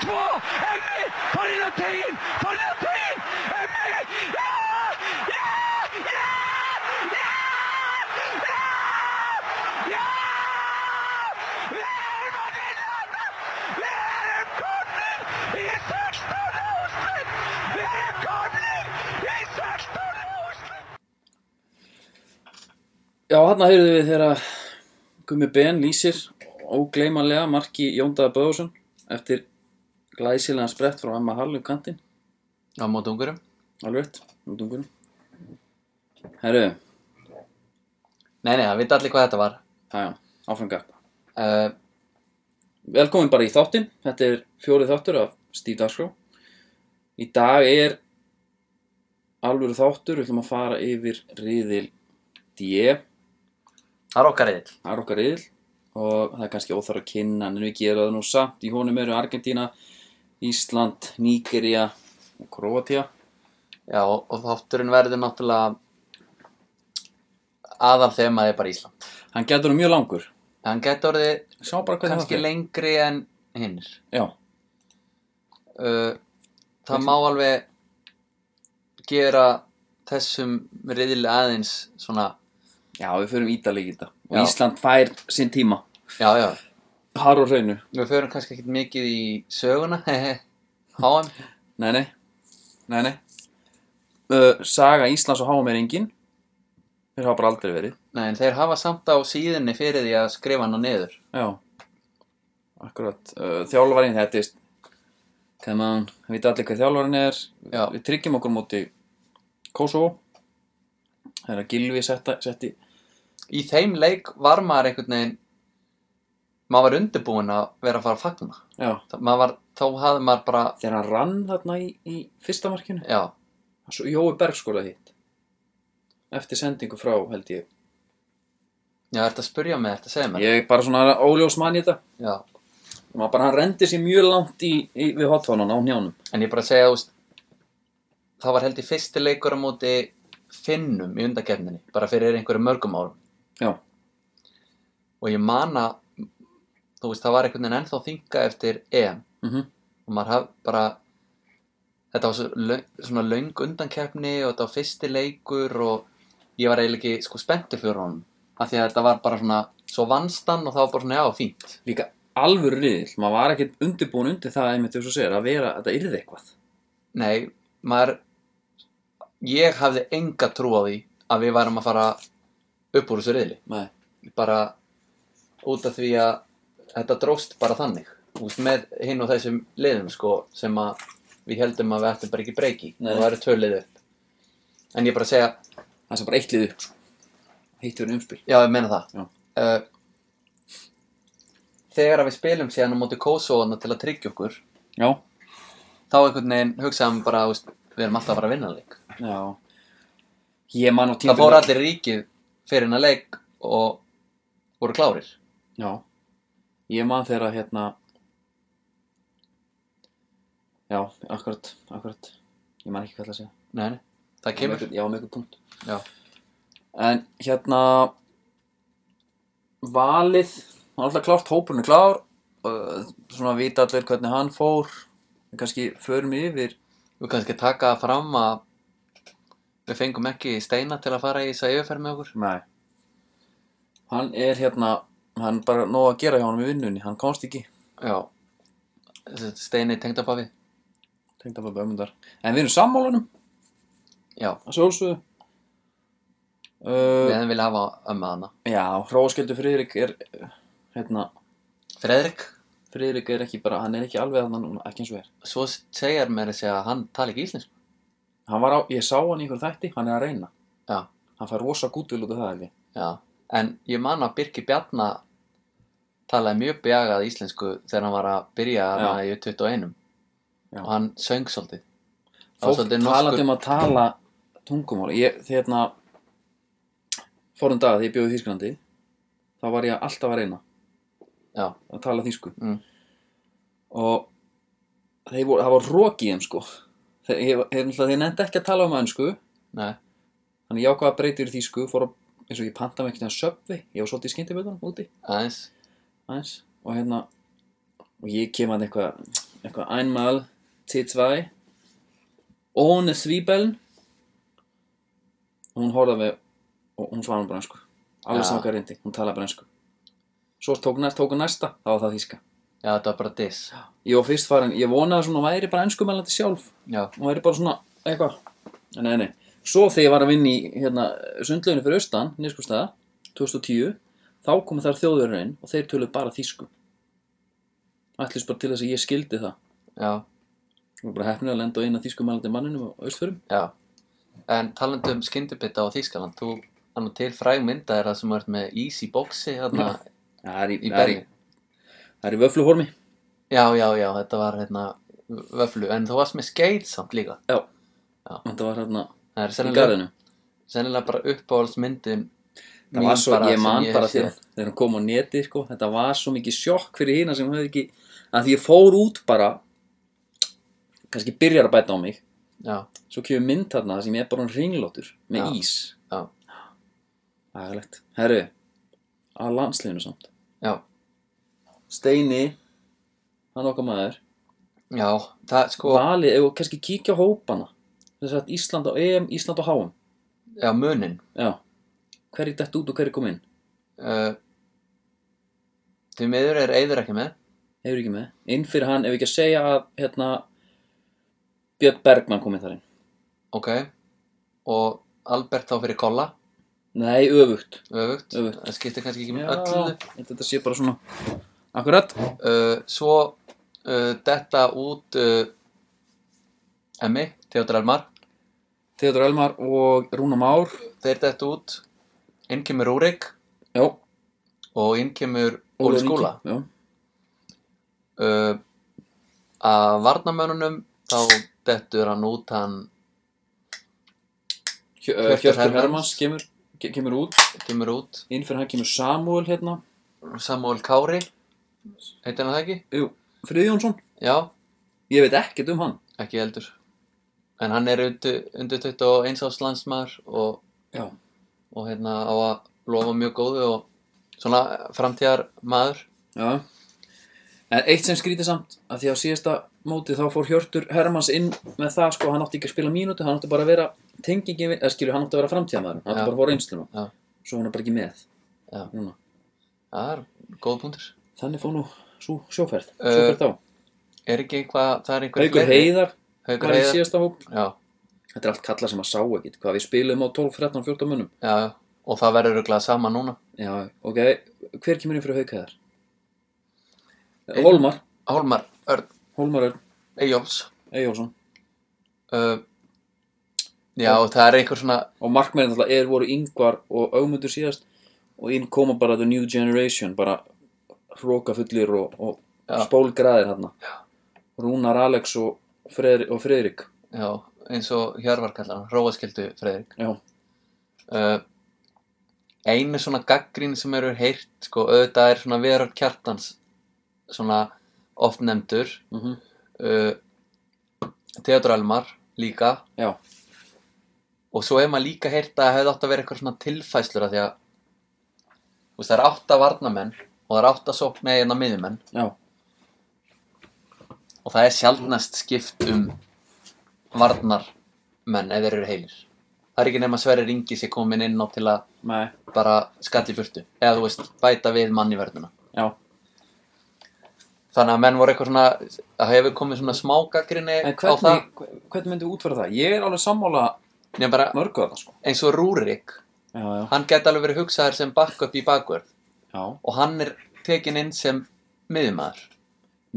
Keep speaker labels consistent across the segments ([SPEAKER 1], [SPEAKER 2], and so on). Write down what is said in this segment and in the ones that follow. [SPEAKER 1] tvo! Emmi! Farinn á teginn! Farinn á teginn! Emmi! Já! Já! Já! Já! Já! Já! Við erum að vinna þetta! Við erum komnir í 16 úrslit! Við erum komnir í 16 úrslit!
[SPEAKER 2] Já, hann heyrðu við þegar Gummi Ben lýsir ógleymanlega marki Jóndaða Böðursson eftir glæsilegan sprett frá Emma Hall um kantinn.
[SPEAKER 3] Á mót ungurum.
[SPEAKER 2] Alveg rétt, út ungunum. Herru,
[SPEAKER 3] Nei, nei, það vita allir hvað þetta var.
[SPEAKER 2] það já, áfram gappa.
[SPEAKER 3] Uh,
[SPEAKER 2] Velkomin bara í þáttinn, þetta er fjórið þáttur af Steve Dagskró. Í dag er alvöru þáttur, við ætlum að fara yfir riðil D,
[SPEAKER 3] það er okkar reyðil.
[SPEAKER 2] það er okkar riðil og það er kannski óþar að kynna, en við gera það nú samt. Í honum eru Argentína, Ísland, Nígeria og Kroatia.
[SPEAKER 3] Já, og, og þátturinn verður náttúrulega aðal þemað er bara Ísland.
[SPEAKER 2] Hann getur nú mjög langur.
[SPEAKER 3] Hann getur orðið
[SPEAKER 2] Sjá bara hvernig
[SPEAKER 3] kannski
[SPEAKER 2] það fer.
[SPEAKER 3] lengri en hinnir.
[SPEAKER 2] Já,
[SPEAKER 3] Uh, það má alveg gera þessum reyðil aðeins svona,
[SPEAKER 2] já, við förum ítalegi í þetta og
[SPEAKER 3] Já.
[SPEAKER 2] Ísland fær sinn tíma.
[SPEAKER 3] já, já.
[SPEAKER 2] Har og hreinu.
[SPEAKER 3] Við förum kannski ekkert mikið í söguna, HM.
[SPEAKER 2] Nei, nei, nei, nei. Uh, saga Íslands og háum er engin. Þeir hafa bara aldrei verið.
[SPEAKER 3] Nei, en þeir hafa samt á síðunni fyrir því að skrifa hana niður.
[SPEAKER 2] Já, akkurat. Uh, þjálfarinn, þetta er, come on, við veitum allir hvað þjálfarinn er.
[SPEAKER 3] Já.
[SPEAKER 2] Við tryggjum okkur móti Kosovo. Það er að Gilvi setta, setti,
[SPEAKER 3] í þeim leik var maður einhvern veginn maður var undirbúinn að vera að fara að fagna
[SPEAKER 2] já,
[SPEAKER 3] Þa- maður var, þá hafði maður bara
[SPEAKER 2] þegar hann rann þarna í, í fyrsta markinu.
[SPEAKER 3] já,
[SPEAKER 2] Svo Jói Berg skoraði hitt. Eftir sendingu frá, held ég.
[SPEAKER 3] já, ertu að spurja mig, ertu að segja mér
[SPEAKER 2] Ég er bara svona óljós mann í þetta.
[SPEAKER 3] já,
[SPEAKER 2] Og maður bara, hann rendi sér mjög langt í, í, við hotfónan á njánum.
[SPEAKER 3] en ég bara að segja úst, það var held í fyrsti leikur á móti finnum í undakefninni bara fyrir einhverjum mörgum árum
[SPEAKER 2] Já,
[SPEAKER 3] og ég man að þú veist, það var einhvern veginn ennþá þinga eftir EM
[SPEAKER 2] mhm,
[SPEAKER 3] og maður hafði bara þetta var svo, löng, svona löng undankeppni og þetta var fyrsti leikur og ég var eiginlega ekki sko spenntur fyrir honum af því að þetta var bara svona svo vannstann og það var bara svona já, fínt
[SPEAKER 2] líka alvöru riðil, maður var ekkert undirbúin undir það einmitt eins og segir að vera, að þetta yrði eitthvað.
[SPEAKER 3] nei, maður ég hafði enga trú á því að við værum að fara upp úr þessu reyðli
[SPEAKER 2] Nei.
[SPEAKER 3] bara út af því að þetta dróst bara þannig út með hinn og þessum liðum sko sem að við heldum að við ættum bara ekki breyki og
[SPEAKER 2] Nei.
[SPEAKER 3] það eru tvö liðu upp en ég bara að segja
[SPEAKER 2] Það sem bara eitt lið upp, sko. um Heitt verið umspil.
[SPEAKER 3] Já, ég meina það.
[SPEAKER 2] Já.
[SPEAKER 3] Uh, þegar að við spilum síðan á móti Kosovoðna til að tryggja okkur,
[SPEAKER 2] Já.
[SPEAKER 3] þá einhvern veginn hugsaðum bara, þú veist, við erum alltaf að fara að vinna leik.
[SPEAKER 2] Já. Ég man á tíma.
[SPEAKER 3] Það fór allir í ríkið fyrir hennar leik og voru klárir.
[SPEAKER 2] Já. Ég man þegar að hérna. Já, akkurat, akkurat. Ég man ekki hvað það að segja.
[SPEAKER 3] Nei, nei, það kemur.
[SPEAKER 2] Já, með ykkur punkt.
[SPEAKER 3] Já.
[SPEAKER 2] En hérna Valið Það er alltaf klárt, hópurinn er klár uh, Svona vita allir hvernig hann fór Við kannski förum yfir
[SPEAKER 3] Við kannski taka það fram að við fengum ekki steina til að fara í þess að yfirferð með okkur.
[SPEAKER 2] Nei Hann er hérna Hann er bara nóg að gera hjá hann í vinnunni Hann komst ekki
[SPEAKER 3] Já, þessi steini tengdabafið.
[SPEAKER 2] Tengd að bara ömundar En við erum sammálunum
[SPEAKER 3] Já,
[SPEAKER 2] að sjálfsögðu
[SPEAKER 3] við
[SPEAKER 2] uh,
[SPEAKER 3] hefum vilja hafa ömmu hana.
[SPEAKER 2] Já, hróskjöldu Friðrik er uh, Hérna,
[SPEAKER 3] Fredrik,
[SPEAKER 2] Friðrik er ekki bara Hann er ekki alveg þarna núna, ekki eins og er
[SPEAKER 3] svo segjar mér þessi að hann tala ekki íslensku.
[SPEAKER 2] Hann var á, ég sá hann í einhver þætti, hann er að reyna
[SPEAKER 3] Já.
[SPEAKER 2] Hann fær rosa gútil út af það held ég.
[SPEAKER 3] Já, en ég man að Birki Bjarna talaði mjög bjagað íslensku þegar hann var að byrja
[SPEAKER 2] Já.
[SPEAKER 3] þarna í 21
[SPEAKER 2] Já.
[SPEAKER 3] og hann söng svolítið. Það var
[SPEAKER 2] Fólk
[SPEAKER 3] svolítið
[SPEAKER 2] talandi
[SPEAKER 3] norskur-
[SPEAKER 2] um að tala tungumál Ég, þeirna Fórum dag þegar ég bjóði Þísklandi Þá var ég alltaf að reyna
[SPEAKER 3] Já,
[SPEAKER 2] að tala þýsku
[SPEAKER 3] Mm.
[SPEAKER 2] Og þeir voru, það var roki þeim sko Þeir, ég, þeir, náttúrulega- þeir nefndi ekki að tala um önsku
[SPEAKER 3] nei,
[SPEAKER 2] Þannig ég ákvað að breyta yfir þýsku Fór að, eins og ég panta mig einhvern veginn söpvi Ég var svolítið í skyndiböðunum úti
[SPEAKER 3] aðeins.
[SPEAKER 2] aðeins og hérna og ég kem að eitthvað eitthvað einmal T2 ohne Zwiebeln og hún horfði á mig og hún svarði bara ennsku alveg
[SPEAKER 3] Ja.
[SPEAKER 2] sá hvað reyndi, hún talaði bara ennsku svo tók, næst, tók hún næsta, þá var það þíska
[SPEAKER 3] Já, þetta var bara diss.
[SPEAKER 2] ég var fyrst farin, ég vonaði svona hún væri bara ennsku meðlandi sjálf
[SPEAKER 3] Já,
[SPEAKER 2] og væri bara svona eitthvað en nei, nei, svo þegar ég var að vinna í hérna, sundlauginu fyrir austan, nýrskustæða 2010, þá komu þar þjóðverður inn og þeir töluðu bara þýsku ætlust bara til þess að ég skildi það
[SPEAKER 3] já,
[SPEAKER 2] Ég var bara hefnir að lenda á eina þýskumælandi manninum á austförum.
[SPEAKER 3] já. En talandi um skyndibita á Þýskaland, þú hann til fræg mynda er það sem þú ert með ís í bóksi hérna
[SPEAKER 2] Það er í,
[SPEAKER 3] í
[SPEAKER 2] það er í,
[SPEAKER 3] Berlín.
[SPEAKER 2] það er í vöfluhormi.
[SPEAKER 3] Já, já, já, þetta var hérna vöflu, en þú varst með skeið samt líka.
[SPEAKER 2] Já.
[SPEAKER 3] Já.
[SPEAKER 2] Þetta var hérna
[SPEAKER 3] Það er
[SPEAKER 2] í
[SPEAKER 3] sennilega,
[SPEAKER 2] garðinu.
[SPEAKER 3] sennilega bara uppáhaldsmyndin
[SPEAKER 2] Það var svo, ég man bara
[SPEAKER 3] hef
[SPEAKER 2] til,
[SPEAKER 3] séð.
[SPEAKER 2] þegar hún kom á neti, sko, þetta var svo mikið sjokk fyrir hina sem höfði ekki, að því ég fór út bara, kannski byrjar að bæta á mig,
[SPEAKER 3] Já,
[SPEAKER 2] svo kemur mynd þarna þar sem ég er bara um ringlótur með
[SPEAKER 3] Já.
[SPEAKER 2] ís.
[SPEAKER 3] já,
[SPEAKER 2] Ægilegt. Herru, að landsliðinu samt.
[SPEAKER 3] já.
[SPEAKER 2] Steini, hann okkar maður,
[SPEAKER 3] Já, það sko,
[SPEAKER 2] valið, ef við kannski kíkja á hópana, þess að Ísland á EM, Ísland á HM.
[SPEAKER 3] já, munin.
[SPEAKER 2] Já, hver er dætt út og hver er kom inn?
[SPEAKER 3] Uh, því miður er Eyður ekki með.
[SPEAKER 2] Hefur ekki með. Inn fyrir hann, ef ekki að segja að hérna, Björn Bergmann kom inn þar inn.
[SPEAKER 3] Ok, og Albert þá fyrir Kolla,
[SPEAKER 2] Nei, öfugt.
[SPEAKER 3] öfugt,
[SPEAKER 2] Öfugt.
[SPEAKER 3] það skiptir kannski ekki með öllu.
[SPEAKER 2] Öllu. Þetta sé bara svona, akkurat.
[SPEAKER 3] Uh, svo uh, detta út uh, Emmi, Theodor Elmar,
[SPEAKER 2] Theodor Elmar og Rúna Már.
[SPEAKER 3] þeir detta út, inn kemur Rúrik
[SPEAKER 2] Já.
[SPEAKER 3] og inn kemur Óli
[SPEAKER 2] Ingi.
[SPEAKER 3] Skúla.
[SPEAKER 2] Já.
[SPEAKER 3] Uh, að varnamönunum þá dettur hann út hann
[SPEAKER 2] Hjö-
[SPEAKER 3] Hjörtur
[SPEAKER 2] uh, Hjörtur
[SPEAKER 3] Hermanns.
[SPEAKER 2] Hermanns kemur, ke- kemur út.
[SPEAKER 3] kemur út,
[SPEAKER 2] Inn fyrir hann kemur Samuel hérna.
[SPEAKER 3] Samuel Kári, heitir hann það ekki?
[SPEAKER 2] Jú, Friðjónsson.
[SPEAKER 3] Já,
[SPEAKER 2] Ég veit ekkert um hann.
[SPEAKER 3] ekki heldur. En hann er undir, undir 21 árs landsmaður og
[SPEAKER 2] Já.
[SPEAKER 3] og hérna á að lofa mjög góðu og svona framtíðar maður
[SPEAKER 2] Já. En eitt sem skrítið samt, að því á síðasta móti þá fór Hjörtur Hermanns inn með það, sko, hann átti ekki að spila mínútu, hann átti bara að vera tengingin, við- eða skilju, hann átti að vera framtíðamaður, hann átti
[SPEAKER 3] Já.
[SPEAKER 2] bara að fóra einsluna.
[SPEAKER 3] Já.
[SPEAKER 2] Svo hann er bara ekki með.
[SPEAKER 3] Já.
[SPEAKER 2] Núna.
[SPEAKER 3] það er góð punktur
[SPEAKER 2] Þannig fór nú svo sjóferð,
[SPEAKER 3] Uh,
[SPEAKER 2] sjóferð þá.
[SPEAKER 3] er ekki eitthvað, það er einhver
[SPEAKER 2] Haukur Heiðar
[SPEAKER 3] Haukur
[SPEAKER 2] var í
[SPEAKER 3] heiðar
[SPEAKER 2] síðasta hóp.
[SPEAKER 3] já,
[SPEAKER 2] Þetta er allt kalla sem að sá ekkit, hvað við spilum á 12, 13, 14 munum.
[SPEAKER 3] já, já. og það verður örugglega sama núna
[SPEAKER 2] Já, ok, hver kemur inn fyrir Hauk Heiðar?
[SPEAKER 3] Einn.
[SPEAKER 2] Hólmar,
[SPEAKER 3] Hólmar Örn
[SPEAKER 2] Hólmar Örn,
[SPEAKER 3] Eyjóls
[SPEAKER 2] Eyjólfsson.
[SPEAKER 3] uh, já, og það er einhver svona
[SPEAKER 2] og markmennin alltaf er voru yngvar og augmundur síðast og inn koma bara the new generation bara hróka fullir og, og
[SPEAKER 3] Já.
[SPEAKER 2] spólgraðir hérna Rúnar Alex og, Freðri, og Freðrik
[SPEAKER 3] já, eins og Hjörvar kallar hann Róaskildu Freyðrik
[SPEAKER 2] já,
[SPEAKER 3] uh, einu svona gaggrín sem eru heyrt sko, auðvitað er svona verur kjartans svona oft nefndur
[SPEAKER 2] mm
[SPEAKER 3] uh, Theodor Elmar líka
[SPEAKER 2] já,
[SPEAKER 3] og svo hef maður líka heyrt að það hefði átt að vera eitthvað svona tilfæslur af því að þú veist, það er átta varnamenn og það er átta sóknei en að miðjumenn
[SPEAKER 2] já,
[SPEAKER 3] og það er sjaldnast skipt um varnarmenn eða þeir eru heilir það er ekki nema Sverri Ringi sér komin inn á til að
[SPEAKER 2] nei,
[SPEAKER 3] bara skalli burtu eða þú veist, bæta við mann í verðuna
[SPEAKER 2] já
[SPEAKER 3] þannig að menn voru eitthvað svona það hefur komið svona smá gaggrinni
[SPEAKER 2] en
[SPEAKER 3] á það
[SPEAKER 2] hvernig, hvernig myndum við útfæra það? Ég er alveg sammála
[SPEAKER 3] Nei, bara,
[SPEAKER 2] mörgu þarna sko
[SPEAKER 3] eins og Rúrik
[SPEAKER 2] já, já,
[SPEAKER 3] hann geti alveg verið hugsaður sem backup í bakvörð
[SPEAKER 2] já,
[SPEAKER 3] og hann er tekin inn sem miðjumæður.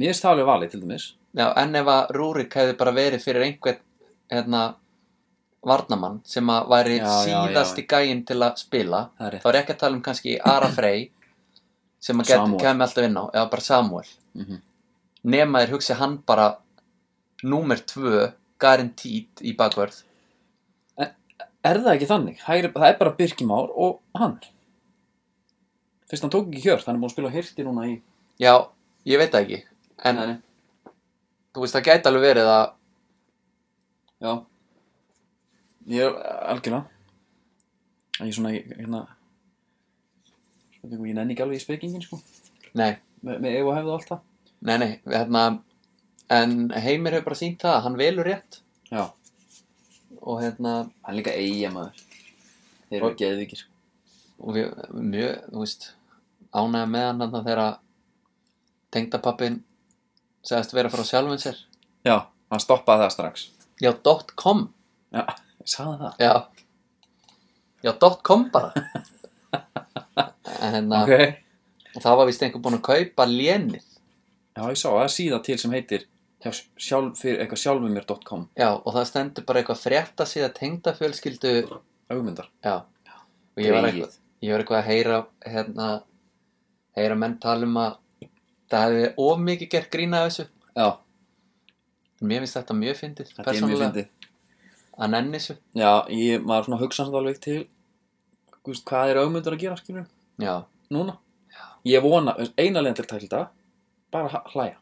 [SPEAKER 2] mér er stálega valið til dæmis
[SPEAKER 3] Já, en ef að Rúrik hefði bara verið fyrir einhvern hérna, varnamann sem að væri
[SPEAKER 2] Já, já,
[SPEAKER 3] síðasti gæinn til að spila
[SPEAKER 2] Það er rétt.
[SPEAKER 3] þá er ekki að tala um kannski Ara Frey sem að get,
[SPEAKER 2] Samuel.
[SPEAKER 3] kemur alltaf inn á eða bara Samuel
[SPEAKER 2] Mhm.
[SPEAKER 3] nema þér hugsi hann bara númer tvö garantít í bakvörð
[SPEAKER 2] er það ekki þannig? Hægri, það er bara Birkimár og hann fyrst hann tók ekki hjört, hann er búin að spila hirti núna í
[SPEAKER 3] Já, ég veit það ekki en
[SPEAKER 2] Nei, nei.
[SPEAKER 3] þú veist það gæti alveg verið að
[SPEAKER 2] Já Ég er algjörlega En ég svona, ég- hérna Svona, þingum, ég nenni ekki alveg í spekingin, sko
[SPEAKER 3] nei,
[SPEAKER 2] Með, með egu hefðu allt það
[SPEAKER 3] nei, nei, hérna en Heimir hefur bara sínt það að hann velur rétt
[SPEAKER 2] Já,
[SPEAKER 3] og hérna
[SPEAKER 2] hann er líka eiga maður. Þeir eru
[SPEAKER 3] Og-
[SPEAKER 2] geðvíkir.
[SPEAKER 3] og við mjög, þú veist ánægða með hann þarna þegar tengdapappin sagðist vera frá sjálfum sér
[SPEAKER 2] Já, hann stoppaði það strax.
[SPEAKER 3] já, dot .com
[SPEAKER 2] Já, sagði það.
[SPEAKER 3] já, já, dot .com bara en hérna
[SPEAKER 2] Ok.
[SPEAKER 3] og það var vist einhver búinn að kaupa lénið
[SPEAKER 2] Já, ég sá, það er síða til sem heitir hjá sjálf, fyrir eitthvað sjálfumér.com
[SPEAKER 3] já, og það stendur bara eitthvað frétta síða tengdafjölskyldu
[SPEAKER 2] augmyndar.
[SPEAKER 3] já, og ég var
[SPEAKER 2] Greyið.
[SPEAKER 3] eitthvað ég var eitthvað að heyra hérna, heyra menn tala um að það hefði of mikið gert grína af þessu
[SPEAKER 2] Já,
[SPEAKER 3] Mér finnst þetta mjög fyndið,
[SPEAKER 2] þetta er mjög
[SPEAKER 3] persónulega,
[SPEAKER 2] fyndið.
[SPEAKER 3] að nenni þessu.
[SPEAKER 2] Já, ég, maður svona hugsa hans alveg til, þú veist, hvað er augmyndar að gera, skilur?
[SPEAKER 3] Já,
[SPEAKER 2] núna ég vona, eina leiðin til að tækla þetta bara h- hlæja,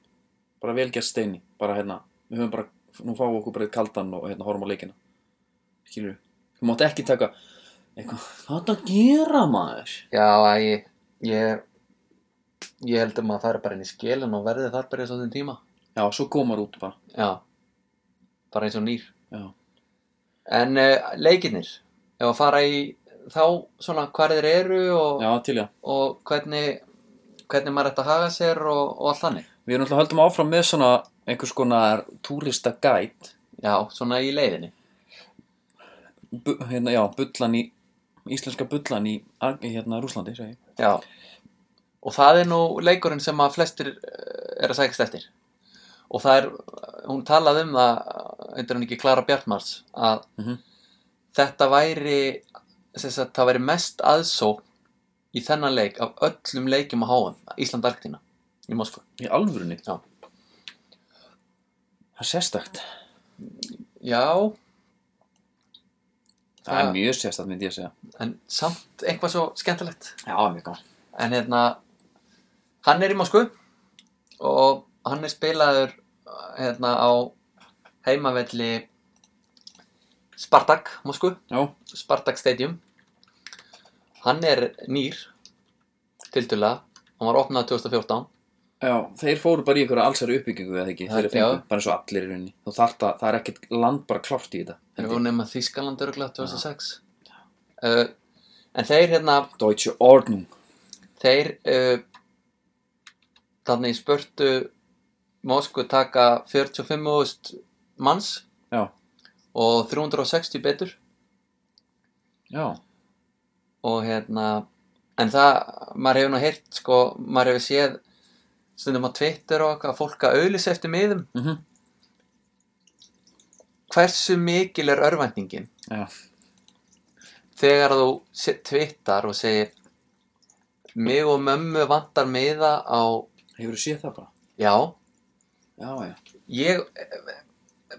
[SPEAKER 2] bara velgerð steini bara hérna, við höfum bara nú fáum við okkur bara eitt kaldan og hérna horfum á leikina skilur við, þú mátt ekki taka eitthvað, hvað er það að gera maður
[SPEAKER 3] já, að ég, ég, ég held um að maður fari bara inn í skilin og verði þar bara í svona tíma.
[SPEAKER 2] já, svo komar út bara,
[SPEAKER 3] Já, bara eins og nýr.
[SPEAKER 2] já,
[SPEAKER 3] En uh, leikirnir, ef að fara í þá svona hvar þeir eru og,
[SPEAKER 2] já til já
[SPEAKER 3] og hvernig, hvernig maður ætti að haga sér og, og allt þannig.
[SPEAKER 2] við erum alltaf höldum áfram með svona einhvers konar túrista gæt
[SPEAKER 3] Já, svona í leiðinni.
[SPEAKER 2] bu, hérna, já, bullan í íslenska bullan í Ar- hérna Rúslandi, segi ég
[SPEAKER 3] Já, og það er nú leikurinn sem að flestir eh, er að sækast eftir. Og það er, hún talaði um það, undir hann ekki Klara Bjartmars, að
[SPEAKER 2] Mhm.
[SPEAKER 3] þetta væri, þess að það væri mest aðsókn í þennan leik af öllum leikjum á háum, Ísland-Arktína, í Moskva.
[SPEAKER 2] í alvörunni
[SPEAKER 3] Já.
[SPEAKER 2] það er sérstakt
[SPEAKER 3] Já,
[SPEAKER 2] það er
[SPEAKER 3] Það-
[SPEAKER 2] mjög sérstakt myndi ég að segja
[SPEAKER 3] en samt eitthvað svo skemmtilegt.
[SPEAKER 2] Já, mjög gaman.
[SPEAKER 3] En hérna, hann er í Moskvu og hann er spilaður hérna á heimavelli Spartak, Moskvu,
[SPEAKER 2] Já,
[SPEAKER 3] Spartak Stadium. Hann er nýr, tildulega, hann var opnað 2014.
[SPEAKER 2] já, þeir fóru bara í einhverja allsæri uppbyggingu eða ekki,
[SPEAKER 3] Það-
[SPEAKER 2] þeir fengu
[SPEAKER 3] já.
[SPEAKER 2] bara eins og allir í rauninni. Þú þarft að, það er ekkert land bara klárt í þetta.
[SPEAKER 3] Þeir
[SPEAKER 2] held
[SPEAKER 3] voru
[SPEAKER 2] ég.
[SPEAKER 3] nema Þískaland örgulega 2006. Uh, en þeir hérna,
[SPEAKER 2] Deutsche Ordnung.
[SPEAKER 3] þeir uh, þannig spurtu Moskvu taka 45.000 manns
[SPEAKER 2] Já,
[SPEAKER 3] og 360 betur
[SPEAKER 2] já,
[SPEAKER 3] og hérna en það, maður hefur nú heyrt sko, maður hefur séð stundum á Twitter og okkar, fólk að auðlýsa eftir miðum
[SPEAKER 2] Mhm.
[SPEAKER 3] hversu mikil er örvæntingin
[SPEAKER 2] já,
[SPEAKER 3] þegar þú se- twittar og segir mig og mömmu vantar miða á
[SPEAKER 2] hefur þú séð það bara?
[SPEAKER 3] já,
[SPEAKER 2] Já, já,
[SPEAKER 3] ég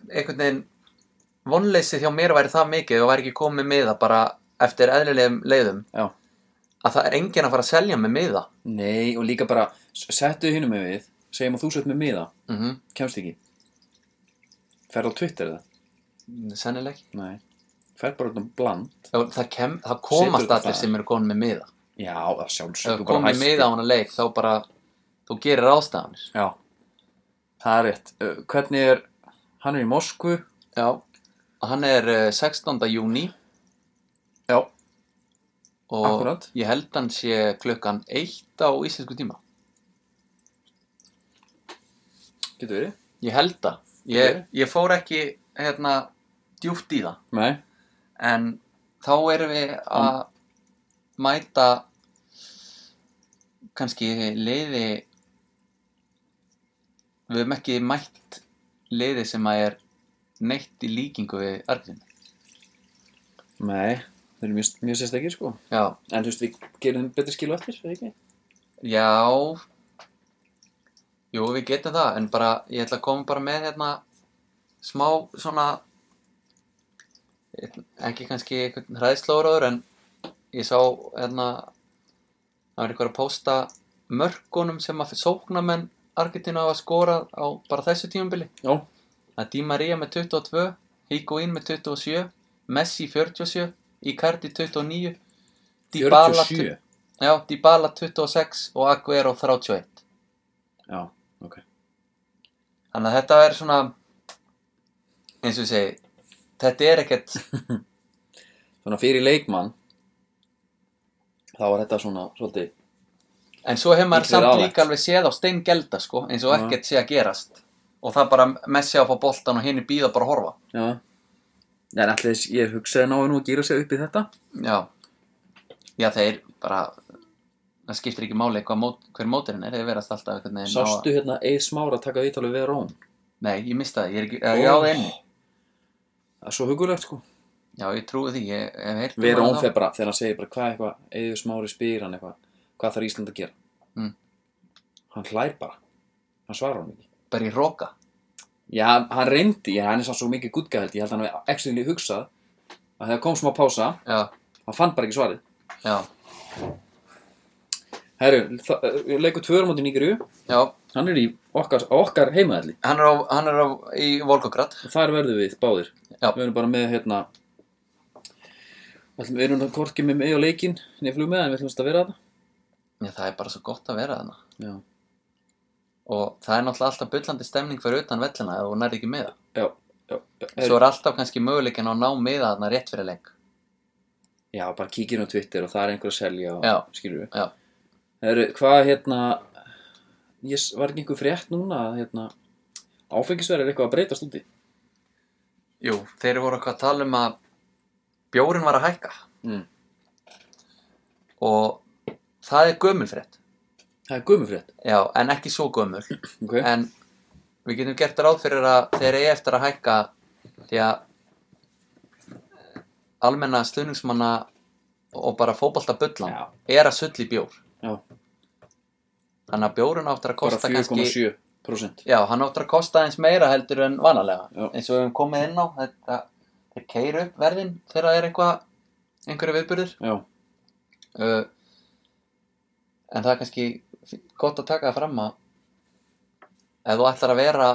[SPEAKER 3] einhvern veginn vonleysið hjá mér væri það mikið og væri ekki komið miða bara eftir eðlilegum leiðum
[SPEAKER 2] já.
[SPEAKER 3] að það er enginn að fara að selja með miða
[SPEAKER 2] Nei, og líka bara, s- settu þið hinum með við, segjum að þú sett með miða,
[SPEAKER 3] mm
[SPEAKER 2] kemst ekki. Ferð á Twitter eða?
[SPEAKER 3] sennileg ekki
[SPEAKER 2] Nei. Ferð bara út um bland.
[SPEAKER 3] Já, það, kem, það komast
[SPEAKER 2] Setur
[SPEAKER 3] allir
[SPEAKER 2] það.
[SPEAKER 3] sem eru konum með miða
[SPEAKER 2] Já, það
[SPEAKER 3] ef
[SPEAKER 2] sjálfsög,
[SPEAKER 3] þú komið með miða á hana leik þá bara þú gerir ástafanir
[SPEAKER 2] Já, það er rétt. Ö, Hvernig er, hann er í Moskvu.
[SPEAKER 3] já. hann er eh, 16. júni
[SPEAKER 2] Já.
[SPEAKER 3] og
[SPEAKER 2] Akkúrat.
[SPEAKER 3] ég held hann sé klukkan 1 á íslensku tíma
[SPEAKER 2] Getur verið?
[SPEAKER 3] ég held það ég, ég fór ekki hérna djúpt í það
[SPEAKER 2] Nei.
[SPEAKER 3] en þá erum við að mæta kannski liði við höfum ekki mætt liði sem að er neitt í líkingu við Argrín
[SPEAKER 2] Nei, þeir eru mjög, mjög sérstakir sko
[SPEAKER 3] já,
[SPEAKER 2] En þú veist, við gerum þeim betri skilu eftir, eða ekki?
[SPEAKER 3] já jú við getum það en bara ég ætla að koma bara með hérna smá svona ekki kannski einhvern hræðslóraður en ég sá hérna það var eitthvað að pósta mörkunum sem að sóknamenn Argentina hafa skorað á bara þessu tímabili
[SPEAKER 2] Já
[SPEAKER 3] að Di Maria með 22 Higuín með 27 Messi 47 Icardi 29 Dybala
[SPEAKER 2] 47
[SPEAKER 3] tu- já, Dybala 26 og Aguero 31
[SPEAKER 2] Já, ok
[SPEAKER 3] Þannig Þannig að þetta er svona eins og ég segi þetta er ekkert
[SPEAKER 2] Svona fyrir leikmann þá var þetta svona svolítið
[SPEAKER 3] En svo hefur maður
[SPEAKER 2] Miklir
[SPEAKER 3] samt
[SPEAKER 2] álætt.
[SPEAKER 3] líka alveg séð á steingelda sko, eins og
[SPEAKER 2] Já.
[SPEAKER 3] ekkert sé að gerast og það bara messi á að fá boltan og henni býða bara að horfa
[SPEAKER 2] Já En allir ég hugsaði náðu nú að gýra sig upp í þetta
[SPEAKER 3] Já Já, þeir bara það skiptir ekki máli hvað mót, hver mótirinn er þeir verast alltaf einhvern veginn á að-
[SPEAKER 2] Sástu hérna Eir Smára taka viðtalið við Rón
[SPEAKER 3] Nei, ég mista það, ég er ekki, eða ég á það inni
[SPEAKER 2] Það er svo hugulegt sko
[SPEAKER 3] Já, ég trúi því, ég hef heyrt
[SPEAKER 2] Við
[SPEAKER 3] um
[SPEAKER 2] Rón
[SPEAKER 3] það.
[SPEAKER 2] fer bara þegar hann segir bara hvað eitthvað Eir Smári spyr hann eitthvað Hvað þarf Ísland að gera
[SPEAKER 3] Mm.
[SPEAKER 2] Hann hlær bara Hann svarar hann ekki
[SPEAKER 3] bara í roka
[SPEAKER 2] Já, hann reyndi, já, hann er sá svo mikið guttgæðheld Ég held að hann hef ekki hugsað að þegar kom smá pása
[SPEAKER 3] Já,
[SPEAKER 2] Hann fann bara ekki svarið
[SPEAKER 3] já,
[SPEAKER 2] Herru, þa- eh, við leikum tvörum átti Nígriu
[SPEAKER 3] já
[SPEAKER 2] Hann er í okkar, okkar heimaðalli
[SPEAKER 3] Hann er á, hann er á, í Volgograd
[SPEAKER 2] Þar verðum við báðir
[SPEAKER 3] Já.
[SPEAKER 2] Við erum bara með hérna ætlum- Við erum það korki með með á leikinn Nei flugmiða en við ætlum að vera það
[SPEAKER 3] Já, það er bara svo gott að vera þarna
[SPEAKER 2] Já,
[SPEAKER 3] og það er náttúrulega alltaf bullandi stemning fyrir utan vellina ef þú nærði ekki með það
[SPEAKER 2] já, já, já.
[SPEAKER 3] Svo er alltaf kannski möguleikin á að ná miða þarna rétt fyrir leik.
[SPEAKER 2] já bara kíkir á Twitter og það er einhver að selja og,
[SPEAKER 3] Já.
[SPEAKER 2] Skilur við
[SPEAKER 3] Já.
[SPEAKER 2] Herru, hvað hérna Ég s- var ekki einhver frétt núna að hérna Áfengisverð er eitthvað að breytast úti
[SPEAKER 3] Jú, þeir voru eitthvað að tala um að bjórin var að hækka
[SPEAKER 2] mm.
[SPEAKER 3] og það er gömulfrétt.
[SPEAKER 2] Það er gumufrétt
[SPEAKER 3] Já, en ekki svo gömul.
[SPEAKER 2] okay.
[SPEAKER 3] En við getum gert ráð fyrir að þeir eigi eftir að hækka því að eh, almenna stuðningsmanna og bara fótboltabullan
[SPEAKER 2] Já.
[SPEAKER 3] er að sulli bjór.
[SPEAKER 2] Já,
[SPEAKER 3] Þannig að bjórun áttur
[SPEAKER 2] bara
[SPEAKER 3] að kosta kannski
[SPEAKER 2] 4,7%
[SPEAKER 3] Já, hann áttur að kosta eins meira heldur en vanalega
[SPEAKER 2] Já.
[SPEAKER 3] eins og við höfum komið inn á þetta, þeir keiru upp verðin þegar það er eitthvað einhverju viðburðir
[SPEAKER 2] Já,
[SPEAKER 3] uh, en það er kannski fí- gott að taka það fram að ef þú ætlar að vera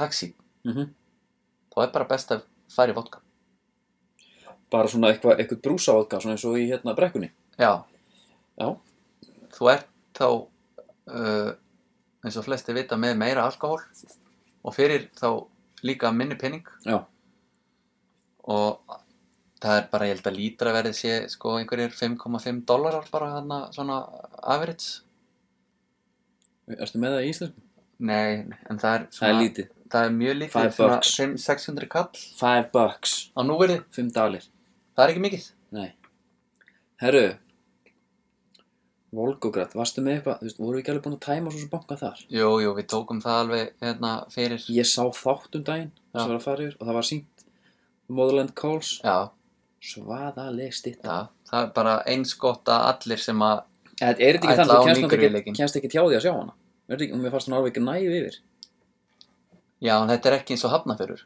[SPEAKER 3] haxi,
[SPEAKER 2] mhm
[SPEAKER 3] þá er bara best að fara í vodka
[SPEAKER 2] bara svona eitthvað, eitthvað brúsavodka svona eins og í hérna brekkunni
[SPEAKER 3] Já,
[SPEAKER 2] já,
[SPEAKER 3] þú ert þá uh, eins og flesti vita með meira alkohól og fyrir þá líka minni pening
[SPEAKER 2] já,
[SPEAKER 3] og það er bara, ég held að lítra verið sé sko einhverjir 5,5 dólarar bara hérna svona average
[SPEAKER 2] erstu með það í íslensku?
[SPEAKER 3] Nei, en það er
[SPEAKER 2] það
[SPEAKER 3] svona
[SPEAKER 2] er lítið,
[SPEAKER 3] það er mjög lítið,
[SPEAKER 2] Five
[SPEAKER 3] svona
[SPEAKER 2] bucks.
[SPEAKER 3] 5, 600 kall
[SPEAKER 2] 5 bucks,
[SPEAKER 3] á núverði,
[SPEAKER 2] 5 dalir
[SPEAKER 3] það er ekki mikið
[SPEAKER 2] nei, herru Volgograd varstu með eitthvað, þú veist, voru ekki alveg búin að tæma svo sem banka þar?
[SPEAKER 3] Jú, jú, við tókum það alveg hérna fyrir,
[SPEAKER 2] ég sá þátt um daginn
[SPEAKER 3] Já.
[SPEAKER 2] sem var að fara yfir og það var sínt Motherland Calls,
[SPEAKER 3] já,
[SPEAKER 2] svaðaleg stitt
[SPEAKER 3] já það er bara eins gott að allir sem að
[SPEAKER 2] Eh, er þetta ekki
[SPEAKER 3] Ætla
[SPEAKER 2] þannig, þú
[SPEAKER 3] á
[SPEAKER 2] kemst,
[SPEAKER 3] Nígeríu
[SPEAKER 2] náttúrulega
[SPEAKER 3] leikinn.
[SPEAKER 2] ekki, kemst ekki tjá því að sjá hana Er þetta ekki, og mér fannst hann alveg ekki næf yfir
[SPEAKER 3] já, en þetta er ekki eins og hafnafyrur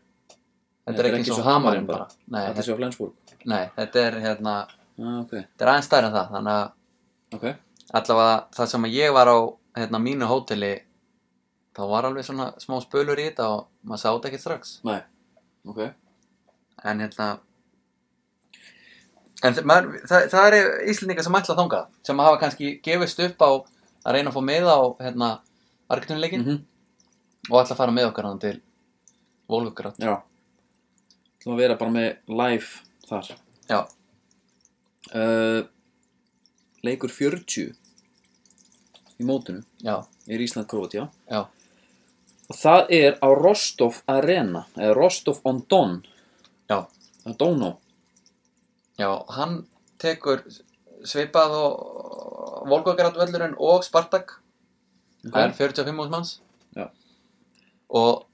[SPEAKER 3] þetta er ekki eins og hamarinn bara, Nei,
[SPEAKER 2] þetta
[SPEAKER 3] þetta,
[SPEAKER 2] sé á Flensburg
[SPEAKER 3] nei, þetta er hérna
[SPEAKER 2] ah, ok,
[SPEAKER 3] þetta er aðeins stærri en það, þannig að
[SPEAKER 2] ok
[SPEAKER 3] allavega það sem ég var á hérna, mínu hóteli þá var alveg svona smá spölur í þetta og maður sá þetta ekki strax
[SPEAKER 2] Nei, ok
[SPEAKER 3] en hérna en þa- maður, það, það eru Íslendingar sem ætla þangað sem hafa kannski gefist upp á að reyna að fá með á hérna, Argentunuleikin
[SPEAKER 2] -hmm.
[SPEAKER 3] og ætla að fara með okkar hann til Volgograd
[SPEAKER 2] Já Það að vera bara með live þar
[SPEAKER 3] já,
[SPEAKER 2] uh, Leikur 40 Í mótinu
[SPEAKER 3] já,
[SPEAKER 2] Er Ísland Króatía
[SPEAKER 3] já,
[SPEAKER 2] Og það er á Rostov Arena Eða Rostov on Don
[SPEAKER 3] já
[SPEAKER 2] Á Donó
[SPEAKER 3] já, hann tekur svipað og Volgograd völlurinn og Spartak það er 45 hús manns
[SPEAKER 2] Já.
[SPEAKER 3] og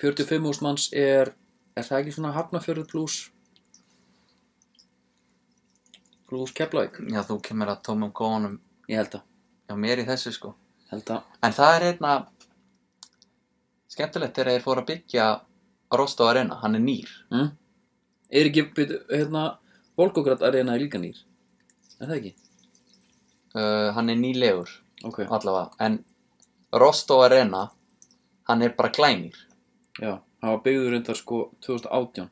[SPEAKER 2] 45 hús manns er Er það ekki svona hafnafjörður pluss Pluss keflaug
[SPEAKER 3] já, þú kemur að tómum góðanum
[SPEAKER 2] Ég held að
[SPEAKER 3] hjá mér í þessu sko
[SPEAKER 2] Held að
[SPEAKER 3] en það er einna skemmtilegt þegar þeir fóru að byggja Rostov Arena, hann er nýr
[SPEAKER 2] mm? Er ekki byrju, hérna Volgograd Arena er líka nýr Er það ekki?
[SPEAKER 3] uh, hann er nýlegur
[SPEAKER 2] Ok
[SPEAKER 3] allavega, en Rostov Arena hann er bara glænýr
[SPEAKER 2] Já, hann var byggður reyndar sko 2018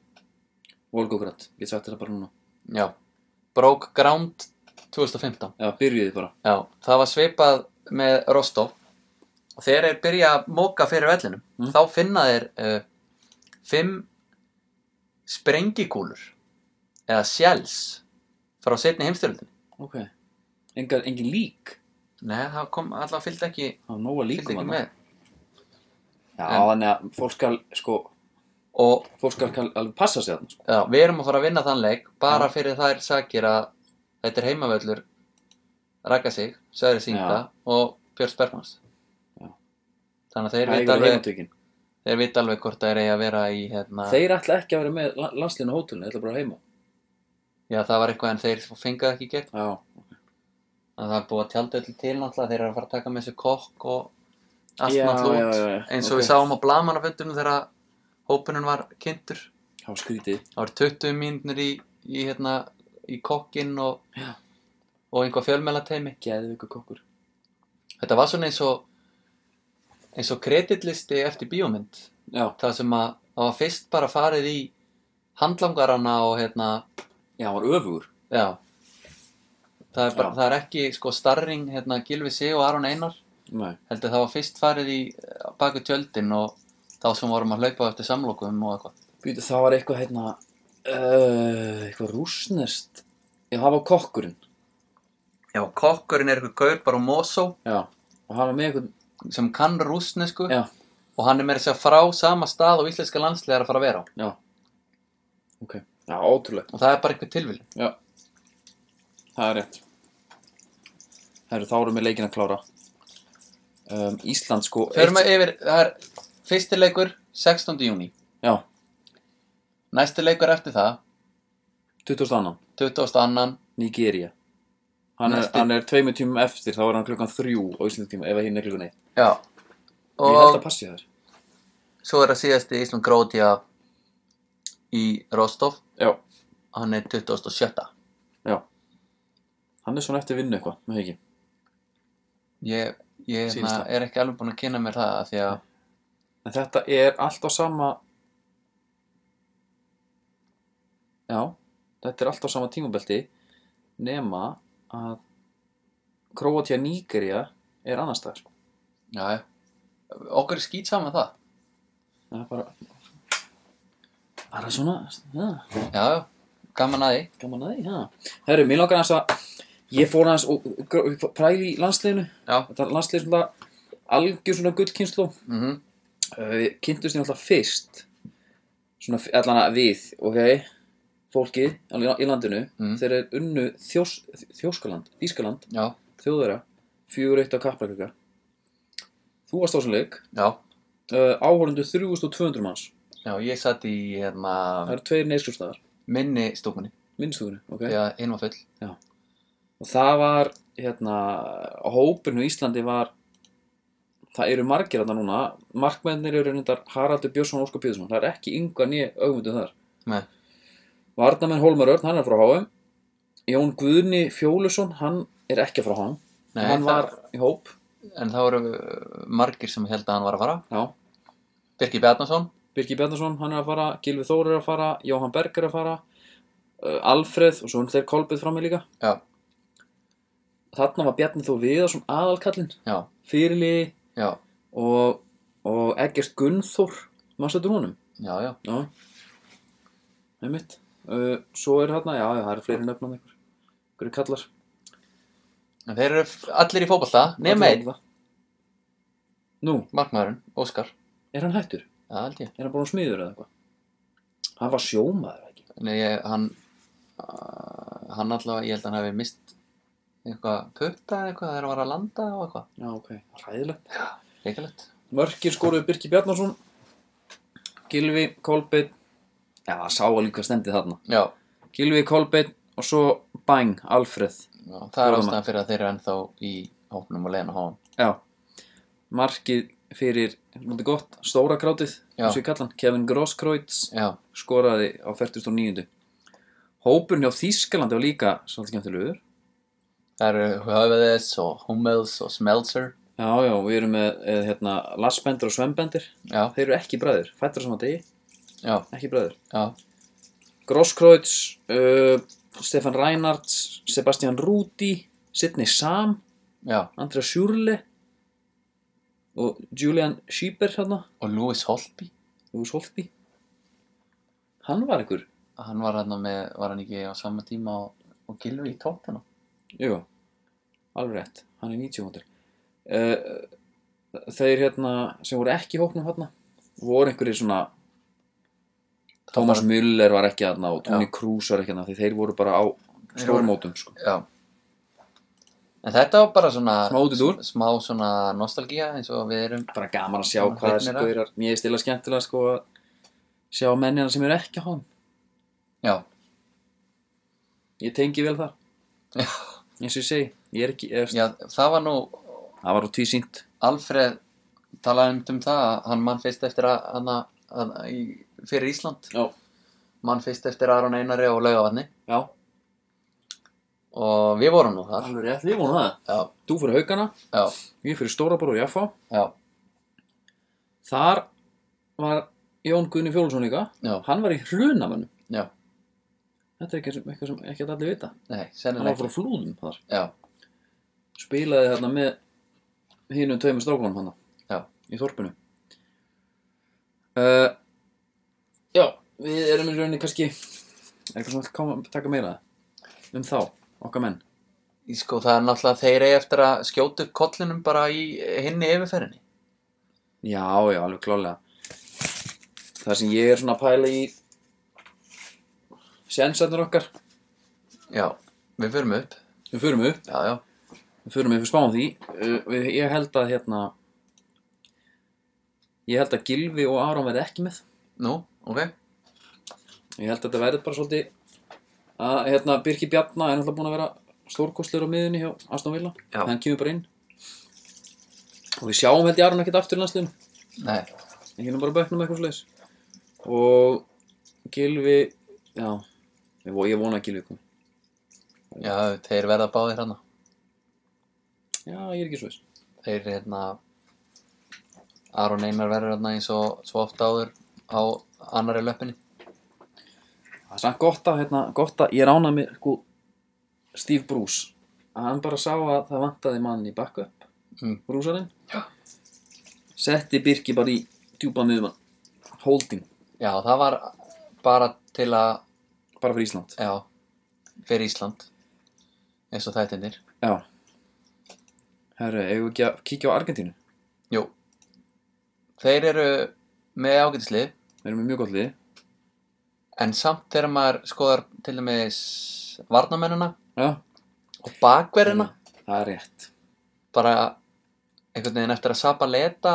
[SPEAKER 2] Volgograd, ég sagt þetta bara núna
[SPEAKER 3] já, Broke Ground 2015
[SPEAKER 2] Já, byrjuðið bara
[SPEAKER 3] já, það var svipað með Rostov og þegar þeir byrja að móka fyrir vellinum
[SPEAKER 2] Mm.
[SPEAKER 3] þá finna þeir uh, fimm sprengikúlur eða shells frá setni heimstyrjöldin
[SPEAKER 2] ok Engar, engin lík
[SPEAKER 3] Nei, það kom alltaf fyllt ekki,
[SPEAKER 2] það var nóga
[SPEAKER 3] fyllt
[SPEAKER 2] líkum
[SPEAKER 3] ekki
[SPEAKER 2] þarna.
[SPEAKER 3] með
[SPEAKER 2] já,
[SPEAKER 3] En-
[SPEAKER 2] þannig að fólk skal sko,
[SPEAKER 3] og
[SPEAKER 2] fólk skal kal- alveg passa sig þarna sko.
[SPEAKER 3] já, við erum að fara að vinna þann leik bara
[SPEAKER 2] Já.
[SPEAKER 3] fyrir þær sakir að þetta er heimavöllur rakka sig, Söðri Singa og Björns Bergmans
[SPEAKER 2] Já.
[SPEAKER 3] þannig að
[SPEAKER 2] Það
[SPEAKER 3] þeir
[SPEAKER 2] er
[SPEAKER 3] vita, alveg,
[SPEAKER 2] heimatökin
[SPEAKER 3] þeir vita alveg hvort það er eigi að vera í hérna,
[SPEAKER 2] Þeir ætla ekki að vera með la- landsliðinu á hótelinu, þeir ætla bara heima.
[SPEAKER 3] já það var eitthvað en þeir fengaði ekki gert
[SPEAKER 2] Já,
[SPEAKER 3] að það er búið að tjálda öllu til náttúrulega þeir eru að fara að taka með sér kokk og allt
[SPEAKER 2] Já,
[SPEAKER 3] náttúrulega
[SPEAKER 2] já, já,
[SPEAKER 3] út
[SPEAKER 2] já,
[SPEAKER 3] eins og
[SPEAKER 2] ok.
[SPEAKER 3] við sáum á blamanafundunum þegar hópunum var kynntur
[SPEAKER 2] það var skrítið.
[SPEAKER 3] það voru 20 mínútur í, í, hérna, í kokkinn og,
[SPEAKER 2] Já.
[SPEAKER 3] og einhvað fjölmælateymi
[SPEAKER 2] Gæðið ykkur kokkur.
[SPEAKER 3] þetta var svona eins og eins og kreditlisti eftir bíómynd
[SPEAKER 2] Já,
[SPEAKER 3] það sem að það var fyrst bara farið í handlangarana og hérna
[SPEAKER 2] já, hann var öfugur.
[SPEAKER 3] já það er, bara,
[SPEAKER 2] Já.
[SPEAKER 3] það er ekki sko starring hérna Gylfi Sig og Aron Einar
[SPEAKER 2] Nei.
[SPEAKER 3] heldur það var fyrst farið í eh, baku tjöldin og þá sem vorum að hlaupa á eftir samlokum og eitthvað
[SPEAKER 2] Býtu, það var eitthvað hérna, uh, eitthvað rúsnest. Já, það var kokkurinn.
[SPEAKER 3] Já, kokkurinn er eitthvað gaur bara á Mosó
[SPEAKER 2] Já, og hann var með eitthvað,
[SPEAKER 3] sem kann rúsnesku
[SPEAKER 2] já,
[SPEAKER 3] og hann er með þess að segja frá sama stað og íslenska landslega er að fara að vera á
[SPEAKER 2] já. Ok, já, ótrúlegt.
[SPEAKER 3] og það er bara eitthvað tilvili
[SPEAKER 2] Já, það er rétt. Herru, þá erum við leikin að klára. Um, Ísland, sko,
[SPEAKER 3] Förum við yfir, það er fyrsti leikur 16. júni
[SPEAKER 2] Já,
[SPEAKER 3] næsti leikur eftir það
[SPEAKER 2] 22.
[SPEAKER 3] 22.
[SPEAKER 2] Nigeria hann er,
[SPEAKER 3] Næsti-
[SPEAKER 2] hann er tveimur tímum eftir þá er hann klukkan þrjú á Íslands tíma ef að hinn er klukkan eitt
[SPEAKER 3] Já
[SPEAKER 2] ég held að
[SPEAKER 3] og
[SPEAKER 2] passi þar
[SPEAKER 3] svo er það síðasti Ísland Grótia í Rostov
[SPEAKER 2] já,
[SPEAKER 3] hann er 27.
[SPEAKER 2] já hann er svona eftir vinnu eitthvað, með ekki
[SPEAKER 3] Ég, ég
[SPEAKER 2] Síðasta.
[SPEAKER 3] hérna, er ekki alveg búinn að kynna mér það af því að
[SPEAKER 2] en þetta er allt á sama já þetta er allt á sama tímabelti nema að Króatía Nígeria er annars staðar
[SPEAKER 3] Já, já. okkur er skýt saman það.
[SPEAKER 2] það er bara bara svona ja.
[SPEAKER 3] Já, já, gaman að því.
[SPEAKER 2] Gaman að því, já. Herru, mér langar aðeins að ég fór aðeins og og- præði í landsliðinu.
[SPEAKER 3] Já.
[SPEAKER 2] Þetta er landslið svona algjör svona gullkynslu.
[SPEAKER 3] Mm
[SPEAKER 2] Uh, Við kynntumst því alltaf fyrst, svona f- allan að við, ok, fólkið alveg í landinu,
[SPEAKER 3] Mm.
[SPEAKER 2] þeir eru unnu þjós, Þjóskaland, Ískaland,
[SPEAKER 3] Já,
[SPEAKER 2] Þjóðverja, fjögur eitt á Kaplaköka. Þú varst á þessum leik,
[SPEAKER 3] já,
[SPEAKER 2] uh, áhórundu 3200 manns,
[SPEAKER 3] já, ég satt í
[SPEAKER 2] það
[SPEAKER 3] hérna,
[SPEAKER 2] eru tveir neyskrumstæðar,
[SPEAKER 3] minni stúkunni,
[SPEAKER 2] minnstugunni, ok?
[SPEAKER 3] því að hinn var full.
[SPEAKER 2] og það var hérna, hópurinn í Íslandi var það eru margir þarna núna markmennir eru reyndar Haraldur Björnsson og Óskar Björnsson, það er ekki yngva nýja augmyndu þar
[SPEAKER 3] Nei.
[SPEAKER 2] Varnamenn Hólmar Örn, hann er frá HM Jón Guðni Fjólusson, hann er ekki frá HM
[SPEAKER 3] Nei,
[SPEAKER 2] hann
[SPEAKER 3] það-
[SPEAKER 2] var í hóp
[SPEAKER 3] En það voru uh, margir sem held að hann var að fara.
[SPEAKER 2] já.
[SPEAKER 3] Birgir Bjarnason,
[SPEAKER 2] Birgir Bjarnason, hann er að fara Gilvi Þór er að fara, Jóhann Berg er að fara uh, Alfreð og svo hann þeir Kolbið frammi líka
[SPEAKER 3] já,
[SPEAKER 2] þarna var Bjarni Þór Viðarsson aðalkallinn
[SPEAKER 3] já,
[SPEAKER 2] fyrirliði
[SPEAKER 3] já,
[SPEAKER 2] og, og Eggert Gunnþór maður sættur honum
[SPEAKER 3] já, já,
[SPEAKER 2] já einmitt uh, svo er þarna, já, já, það eru fleiri nöfnum einhver einhverju kallar
[SPEAKER 3] en þeir eru f- allir í fótballta, nema
[SPEAKER 2] Allir
[SPEAKER 3] einn,
[SPEAKER 2] hafa það. nú,
[SPEAKER 3] markmaðurinn, Óskar,
[SPEAKER 2] er hann hættur?
[SPEAKER 3] já, held ég.
[SPEAKER 2] er hann bara smiður eða eitthvað? hann var sjómaður ekki
[SPEAKER 3] Nei, ég- hann, uh, hann allavega, ég held að hann hefði mist eitthvað putta eða eitthvað þegar hann var að landa og eitthvað.
[SPEAKER 2] já, ok, ræðilegt
[SPEAKER 3] Reykjalegt.
[SPEAKER 2] mörkir skoruðu Birki Bjarnason Gilvi, Kolbeinn já, sá að líka stemdi þarna
[SPEAKER 3] Já,
[SPEAKER 2] Gilvi, Kolbeinn og svo Bang, Alfreð
[SPEAKER 3] Já, það er
[SPEAKER 2] Fjórum
[SPEAKER 3] ástæðan fyrir að þeir eru ennþá í hópnum og leiðin á háum.
[SPEAKER 2] Já, markið fyrir, náttúrulega gott, stóra grátið,
[SPEAKER 3] Já.
[SPEAKER 2] eins og ég kalla hann, Kevin Grosskreutz
[SPEAKER 3] Já,
[SPEAKER 2] skoraði á 49. Hópurinn hjá Þýskalandi var líka svolítið skemmtilegur.
[SPEAKER 3] það eru Höfðes og Hummels og Smeltzer.
[SPEAKER 2] Já, já, við erum með eh, hérna, Lassbendur og Svembendur,
[SPEAKER 3] Já,
[SPEAKER 2] þeir eru ekki bræður, fættur á sama degi,
[SPEAKER 3] já,
[SPEAKER 2] ekki bræður.
[SPEAKER 3] já,
[SPEAKER 2] Grosskreutz, uh, Stefan Reinhardt, Sebastian Rúti, Sidney Sam,
[SPEAKER 3] já,
[SPEAKER 2] Andrea Sjúrle, og Julian Schieber hérna
[SPEAKER 3] og Lewis Holtby
[SPEAKER 2] Lewis Holtby hann var ykkur
[SPEAKER 3] hann var hann með, var hann ekki á sama tíma og, og Gilvi í tóttina
[SPEAKER 2] Jú, alveg rétt, hann er 90 hundur. Uh, þeir hérna sem voru ekki í hóknum hérna voru einhverjir svona Thomas Müller var ekki hérna og Toni
[SPEAKER 3] Já.
[SPEAKER 2] Kroos var ekki hérna því þeir voru bara á
[SPEAKER 3] Þeir voru-
[SPEAKER 2] stórmótum sko.
[SPEAKER 3] já en þetta var bara svona
[SPEAKER 2] Smá út í dúr.
[SPEAKER 3] smá svona nostalgía eins og við erum
[SPEAKER 2] Bara gaman að sjá
[SPEAKER 3] Svona
[SPEAKER 2] hvað
[SPEAKER 3] hrifnir
[SPEAKER 2] þessi
[SPEAKER 3] af.
[SPEAKER 2] gaurar Mér er stila skemmtilega sko að sjá mennina sem eru ekki á hóknum
[SPEAKER 3] já,
[SPEAKER 2] Ég tengi vel þar eins og ég segi, ég er ekki efst.
[SPEAKER 3] já það var nú
[SPEAKER 2] Það var úr tvísýnt
[SPEAKER 3] Alfred talaði um, um það að hann mann fyrst eftir að, að, að, að í- fyrir Ísland
[SPEAKER 2] Já,
[SPEAKER 3] mann fyrst eftir Aron Einari og Laugavatni
[SPEAKER 2] já,
[SPEAKER 3] og við vorum nú þar
[SPEAKER 2] alveg rétt, við vonum það
[SPEAKER 3] já,
[SPEAKER 2] Þú fyrir haugana,
[SPEAKER 3] já,
[SPEAKER 2] ég fyrir Stórabor og Jaffa
[SPEAKER 3] já,
[SPEAKER 2] Þar var Jón Guðni Fjólusson líka
[SPEAKER 3] já,
[SPEAKER 2] Hann var í hrunamönnum
[SPEAKER 3] já
[SPEAKER 2] Þetta er ekki sem, eitthvað sem ekki allir vita
[SPEAKER 3] nei,
[SPEAKER 2] Hann var
[SPEAKER 3] sennilega
[SPEAKER 2] frá flúðum þar
[SPEAKER 3] já,
[SPEAKER 2] Spilaði þarna með hinum tveimur strákunum hann
[SPEAKER 3] já,
[SPEAKER 2] Í þorpinu uh, Já, við erum í rauninni kannski Er eitthvað sem vill koma- taka meira Um þá, okkar menn
[SPEAKER 3] Í sko það er náttúrulega þeir eigi eftir að skjóta upp kollinum bara í hinni yfirferðinni
[SPEAKER 2] Já, já, alveg klálega Það sem ég er svona að pæla í Sjensarnir okkar
[SPEAKER 3] já, við förum upp
[SPEAKER 2] Við förum upp
[SPEAKER 3] já, já,
[SPEAKER 2] Við förum yfir spáum því uh, við, Ég held að hérna Ég held að Gilvi og Aron verði ekki með
[SPEAKER 3] nú, ok
[SPEAKER 2] Ég held að þetta verði bara svolítið að hérna Birki Bjarna er náttúrulega búin að vera stórkostlur á miðunni hjá Aston Villa
[SPEAKER 3] Já.
[SPEAKER 2] Hann kemur bara inn og við sjáum held ég Aron ekkert aftur í landsliðinu
[SPEAKER 3] nei,
[SPEAKER 2] Ég hinn bara á bæknum eitthvað slags og Gilvi já, ég vo- ég vona að Gilvi komi
[SPEAKER 3] já, þeir verða báðir hérna. hana
[SPEAKER 2] Já, ég er ekki svo þess
[SPEAKER 3] þeir hérna Aron Einar verður hérna eins og svo oft áður á annari löppinni
[SPEAKER 2] Það er samt gott að, hérna, gott að ég ránaði mér sko, Steve Bruce að hann bara sá að það vantaði mann í backup
[SPEAKER 3] Mm.
[SPEAKER 2] brúsarinn
[SPEAKER 3] Já.
[SPEAKER 2] setti Birki bara í djúpa miðumann holding,
[SPEAKER 3] já, það var bara til að
[SPEAKER 2] bara fyrir Ísland
[SPEAKER 3] já, fyrir Ísland eins og þættinir
[SPEAKER 2] Já Herru, eigum við ekki að kíkja á Argentínu
[SPEAKER 3] jú, þeir eru með ágætislið
[SPEAKER 2] við erum með mjög gott liði
[SPEAKER 3] en samt þegar maður skoðar til dæmis varnamennina
[SPEAKER 2] Já,
[SPEAKER 3] og bakverðina
[SPEAKER 2] það er rétt
[SPEAKER 3] bara einhvern veginn eftir að Sapa Leta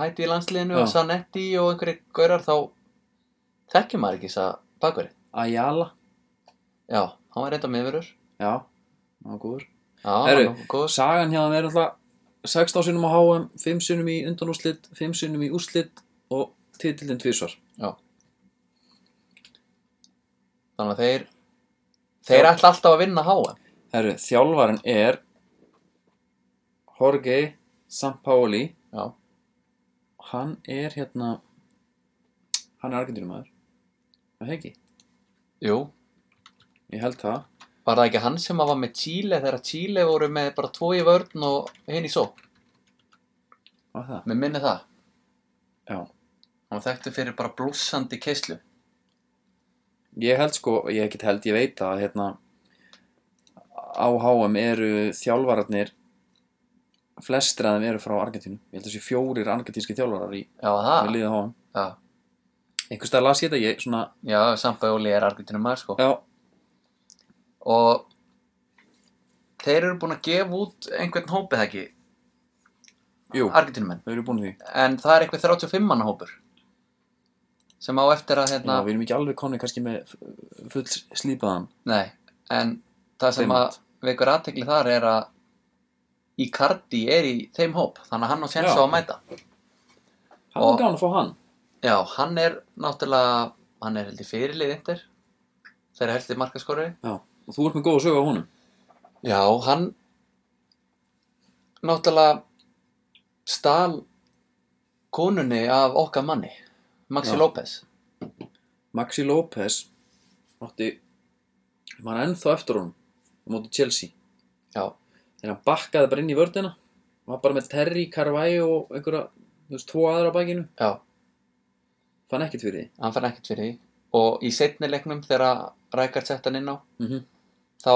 [SPEAKER 3] hætti í landsliðinu
[SPEAKER 2] Já.
[SPEAKER 3] og Sanetti og einhverjir gaurar þá þekkir maður ekki þess að bakverði
[SPEAKER 2] Ayala,
[SPEAKER 3] já, hann var reynda miðurur já,
[SPEAKER 2] já, það var góður
[SPEAKER 3] hann
[SPEAKER 2] Herru,
[SPEAKER 3] var góð
[SPEAKER 2] Sagan hjá hann er alltaf 16 sinnum á HM, 5 sinnum í undanúslit 5 sinnum í úslit og titillin tvisvar
[SPEAKER 3] já. þannig að þeir þeir ætla alltaf að vinna háa
[SPEAKER 2] Herru, þjálfarinn er Jorge Sampaoli
[SPEAKER 3] já,
[SPEAKER 2] Hann er hérna Hann er argentinumæður Það hegi,
[SPEAKER 3] jú,
[SPEAKER 2] ég held það
[SPEAKER 3] var það ekki hann sem að var með Chile þegar Chile voru með bara tvo í vörn og hinn í só
[SPEAKER 2] Var það?
[SPEAKER 3] með minni það
[SPEAKER 2] Já
[SPEAKER 3] hann var þekktu fyrir bara blúsandi keislu
[SPEAKER 2] Ég held sko, ég get held, ég veit að hérna á HM eru þjálfararnir flestir af þeim eru frá Argentínu Ég held að sé fjórir argentínski þjálfarar í
[SPEAKER 3] já,
[SPEAKER 2] ah.
[SPEAKER 3] það
[SPEAKER 2] liðið á HM
[SPEAKER 3] já.
[SPEAKER 2] Einhvers staðar las ég þetta, ég svona
[SPEAKER 3] Já, Sampaoli er argentinum maður sko
[SPEAKER 2] Já,
[SPEAKER 3] og þeir eru búin að gefa út einhvern hópið ekki,
[SPEAKER 2] jú,
[SPEAKER 3] argentinumenn
[SPEAKER 2] þau eru búin að því
[SPEAKER 3] en það er eitthvað 35 manna hópur sem á eftir að
[SPEAKER 2] Já,
[SPEAKER 3] hérna,
[SPEAKER 2] við erum ekki alveg konni kannski með f- full slípaðan
[SPEAKER 3] nei, en það sem
[SPEAKER 2] Fimmand.
[SPEAKER 3] að vekur aðtekli þar er að Icardi er í þeim hóp, þannig að hann á séns
[SPEAKER 2] Já.
[SPEAKER 3] á að mæta
[SPEAKER 2] Hann
[SPEAKER 3] Og-
[SPEAKER 2] er gáðan að fá hann
[SPEAKER 3] Já, hann er náttúrulega hann er heldur fyrirlið yndir þegar heldur markaskorri
[SPEAKER 2] Já, og þú ert með góða sögu á honum
[SPEAKER 3] Já, hann náttúrulega stál konunni af okkar manni, Maxi
[SPEAKER 2] Já.
[SPEAKER 3] López.
[SPEAKER 2] Maxi López átti var ennþá eftir honum á móti Chelsea
[SPEAKER 3] Já,
[SPEAKER 2] þegar hann bakkaði bara inn í vördina var bara með Terry, Carvalho og einhverja, þú veist, tvo aðra á bakinu
[SPEAKER 3] já,
[SPEAKER 2] fann ekkert fyrir því
[SPEAKER 3] hann fær ekkert fyrir því og í setni leiknum þegar Rækard sett hann inn á
[SPEAKER 2] mm -hmm.
[SPEAKER 3] þá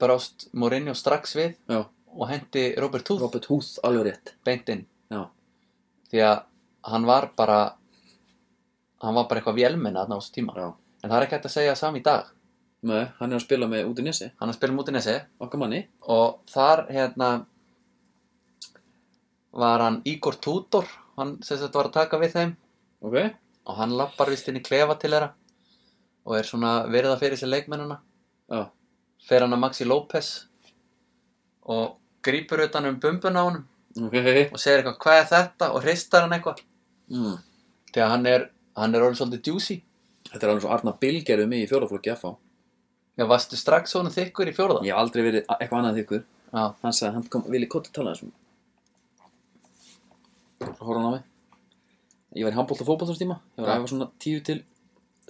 [SPEAKER 3] brást Mourinho strax við
[SPEAKER 2] Já,
[SPEAKER 3] og hendi Robert Huth
[SPEAKER 2] Robert Huth, alveg rétt
[SPEAKER 3] beint inn
[SPEAKER 2] Já,
[SPEAKER 3] því að hann var bara hann var bara eitthvað vélmenna þarna á þessu tíma
[SPEAKER 2] já
[SPEAKER 3] en það er ekki hægt að segja sam í dag
[SPEAKER 2] Nei, hann er að spila með út í nesi,
[SPEAKER 3] hann er að spila mútið nesi
[SPEAKER 2] okkar manni
[SPEAKER 3] og þar hérna var hann Igor Tudor hann sem sagt var að taka við þeim
[SPEAKER 2] Ok,
[SPEAKER 3] og hann lappar vist inn í klefa til þeirra og er svona verið að fyrir sér leikmennina
[SPEAKER 2] já,
[SPEAKER 3] fer hann að Maxi López og grýpur utan um bumbun á honum
[SPEAKER 2] ok
[SPEAKER 3] og segir eitthvað hvað er þetta og hristar hann eitthvað
[SPEAKER 2] mm.
[SPEAKER 3] því að hann er, hann er orðin svolítið juicy
[SPEAKER 2] Þetta er alveg svo Arna Bill gerði mig í fjólaflokki FH
[SPEAKER 3] Já, varstu strax svona þykkur í fjórða?
[SPEAKER 2] Ég hef aldrei verið a- eitthvað annað þykkur
[SPEAKER 3] Já,
[SPEAKER 2] Hann sagði, hann kom, vilji kotta tala þessum Svo horfði hann á mig Ég var í handbólt og fótbólt þessum tíma Ég var
[SPEAKER 3] Já.
[SPEAKER 2] að æfa svona 10 til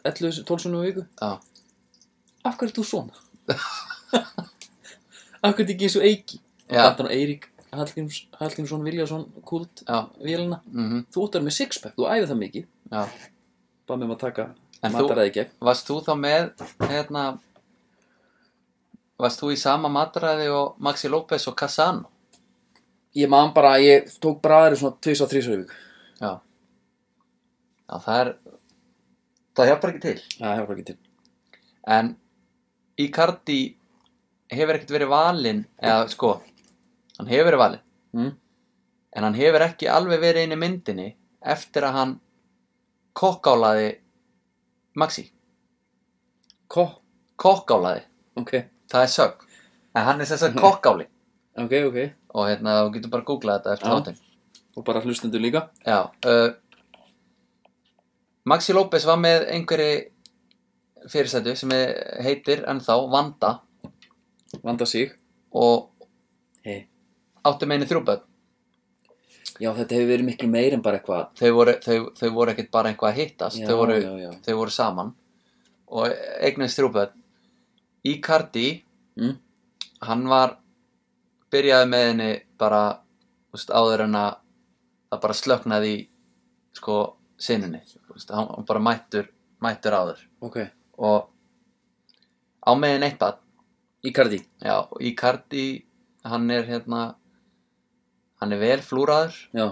[SPEAKER 2] 11, 12 sunnum viku
[SPEAKER 3] já,
[SPEAKER 2] Af hverju ert þú svona? Af hverju ert ekki eins og Eiki? Og
[SPEAKER 3] Já.
[SPEAKER 2] Bantan og Eirík Hallgríms, Hallgrímsson, Viljason, Kult,
[SPEAKER 3] já,
[SPEAKER 2] Vélina
[SPEAKER 3] mhm,
[SPEAKER 2] Þú óttar með sixpack, þú æfið það mikið
[SPEAKER 3] já.
[SPEAKER 2] Bara með um að taka
[SPEAKER 3] En þú-
[SPEAKER 2] mataræði gegn
[SPEAKER 3] Varst þú þá með, hérna, varst þú í sama matræði og Maxi López og Cassano?
[SPEAKER 2] Ég man bara, að ég tók bræðir svona 2-3 í viku
[SPEAKER 3] Já. Já, það er, það hjálpar ekki til.
[SPEAKER 2] Það hefur ekki til
[SPEAKER 3] En Icardi hefur ekkert verið valinn, eða sko, hann hefur verið valinn,
[SPEAKER 2] mm?
[SPEAKER 3] en hann hefur ekki alveg verið inn í myndinni eftir að hann kokkálaði Maxi.
[SPEAKER 2] Ko,
[SPEAKER 3] Kokkálaði.
[SPEAKER 2] ok,
[SPEAKER 3] Það er sögn. En hann er sem sagt kokkáli.
[SPEAKER 2] ok, ok
[SPEAKER 3] Og hérna, þú getur bara að googla þetta eftir
[SPEAKER 2] Já.
[SPEAKER 3] þáttinn.
[SPEAKER 2] Og bara hlustendur líka
[SPEAKER 3] Já. Uh, Maxi López var með einhverju fyrirsætu sem er- heitir ennþá Vanda
[SPEAKER 2] Vanda sig
[SPEAKER 3] og
[SPEAKER 2] hey.
[SPEAKER 3] átti meini þrjúböld.
[SPEAKER 2] Já, þetta hefur verið miklu meir en bara eitthvað
[SPEAKER 3] Þau voru, þau, þau voru ekkert bara eitthvað að hittast.
[SPEAKER 2] Já,
[SPEAKER 3] þau, voru,
[SPEAKER 2] já, já.
[SPEAKER 3] þau voru saman og eignast þrjúböld. Icardi,
[SPEAKER 2] mm?
[SPEAKER 3] hann var, byrjaði með henni bara, þú veist, áður en að það bara slöknaði í, sko, sinninni. Þú veist, hann hann bara mættur, mættur áður.
[SPEAKER 2] Ok
[SPEAKER 3] og á meðin eitt barn
[SPEAKER 2] Íkardi
[SPEAKER 3] já, og Icardi hann er hérna hann er vel flúraður
[SPEAKER 2] Já,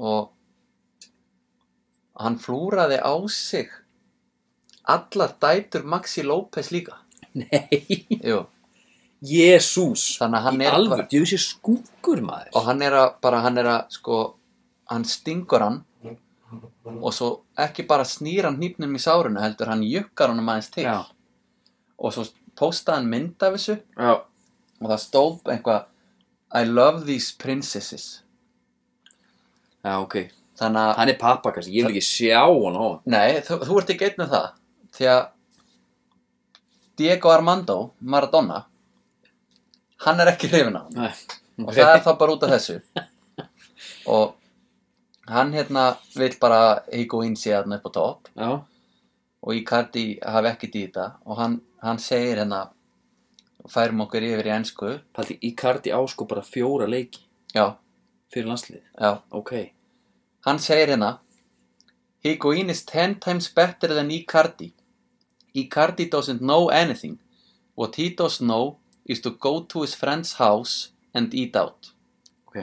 [SPEAKER 3] og hann flúraði á sig allar dætur Maxi López líka
[SPEAKER 2] nei
[SPEAKER 3] Jú.
[SPEAKER 2] Jésús
[SPEAKER 3] Þannig að hann
[SPEAKER 2] Í
[SPEAKER 3] er
[SPEAKER 2] alvöru,
[SPEAKER 3] bara-
[SPEAKER 2] djú sé skúkur maður
[SPEAKER 3] og hann er að bara hann er að sko hann stingur hann og svo ekki bara snýr hann hnýpnum í sárunu heldur hann jökkar hann aðeins til
[SPEAKER 2] Já.
[SPEAKER 3] og svo postaði hann mynd af þessu
[SPEAKER 2] Já
[SPEAKER 3] og það stóð eitthvað I love these princesses
[SPEAKER 2] Já, ok
[SPEAKER 3] þannig að
[SPEAKER 2] Hann er pappa kannski, ég vil ekki sjá hann á hann
[SPEAKER 3] nei, þú, þú ert ekki einn með það því að Diego Armando Maradona hann er ekki hrifin á hann
[SPEAKER 2] Nei
[SPEAKER 3] og
[SPEAKER 2] Ok.
[SPEAKER 3] það er það bara út af þessu og hann hérna vil bara Higo Insi að hann upp á topp
[SPEAKER 2] Já,
[SPEAKER 3] og Icardi hafi ekki dýta og hann, hann segir hérna færum okkur yfir í ennsku
[SPEAKER 2] paldi Íkardi á sko bara fjóra leiki
[SPEAKER 3] já,
[SPEAKER 2] fyrir landslið
[SPEAKER 3] já
[SPEAKER 2] Ok
[SPEAKER 3] Hann segir hérna Higuain is 10 times better than Icardi. Icardi doesn't know anything. What he does know is to go to his friend's house and eat out.
[SPEAKER 2] Ok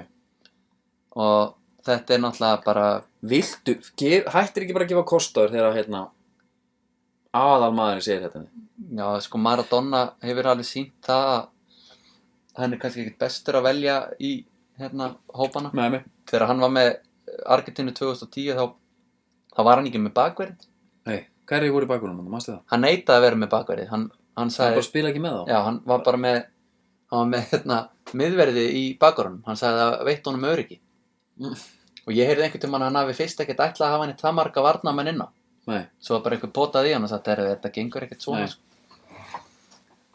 [SPEAKER 3] Og þetta er náttúrulega bara,
[SPEAKER 2] Viltu, gef, hættir ekki bara að gefa kostur þegar hérna aðal maðurinn segir þetta
[SPEAKER 3] já sko Maradona hefur alveg sínt það að hann er kannski ekkert bestur að velja í hérna hópana.
[SPEAKER 2] Með mig
[SPEAKER 3] Þegar hann var með Argentínu 2010 þá, þá var hann ekki með bakverð.
[SPEAKER 2] Nei, hvað er ég voru í bakunum, mannstu það?
[SPEAKER 3] Hann neitaði að vera með bakverði. Hann, hann
[SPEAKER 2] Það er
[SPEAKER 3] sagði...
[SPEAKER 2] bara að spila ekki með þá
[SPEAKER 3] Já, hann var bara með hann var með hérna, miðverði í bakarunum hann sagði að það veitt honum öryggi
[SPEAKER 2] Mm.
[SPEAKER 3] og ég heyrði einhvern tímann að hann hafi fyrst ekkert ætlað að hafa hann í það marga varnamenn inn á
[SPEAKER 2] Nei,
[SPEAKER 3] svo var bara einhver potað í hann og sagði "Heyrðu, þetta gengur ekkert svona
[SPEAKER 2] Nei.
[SPEAKER 3] sko.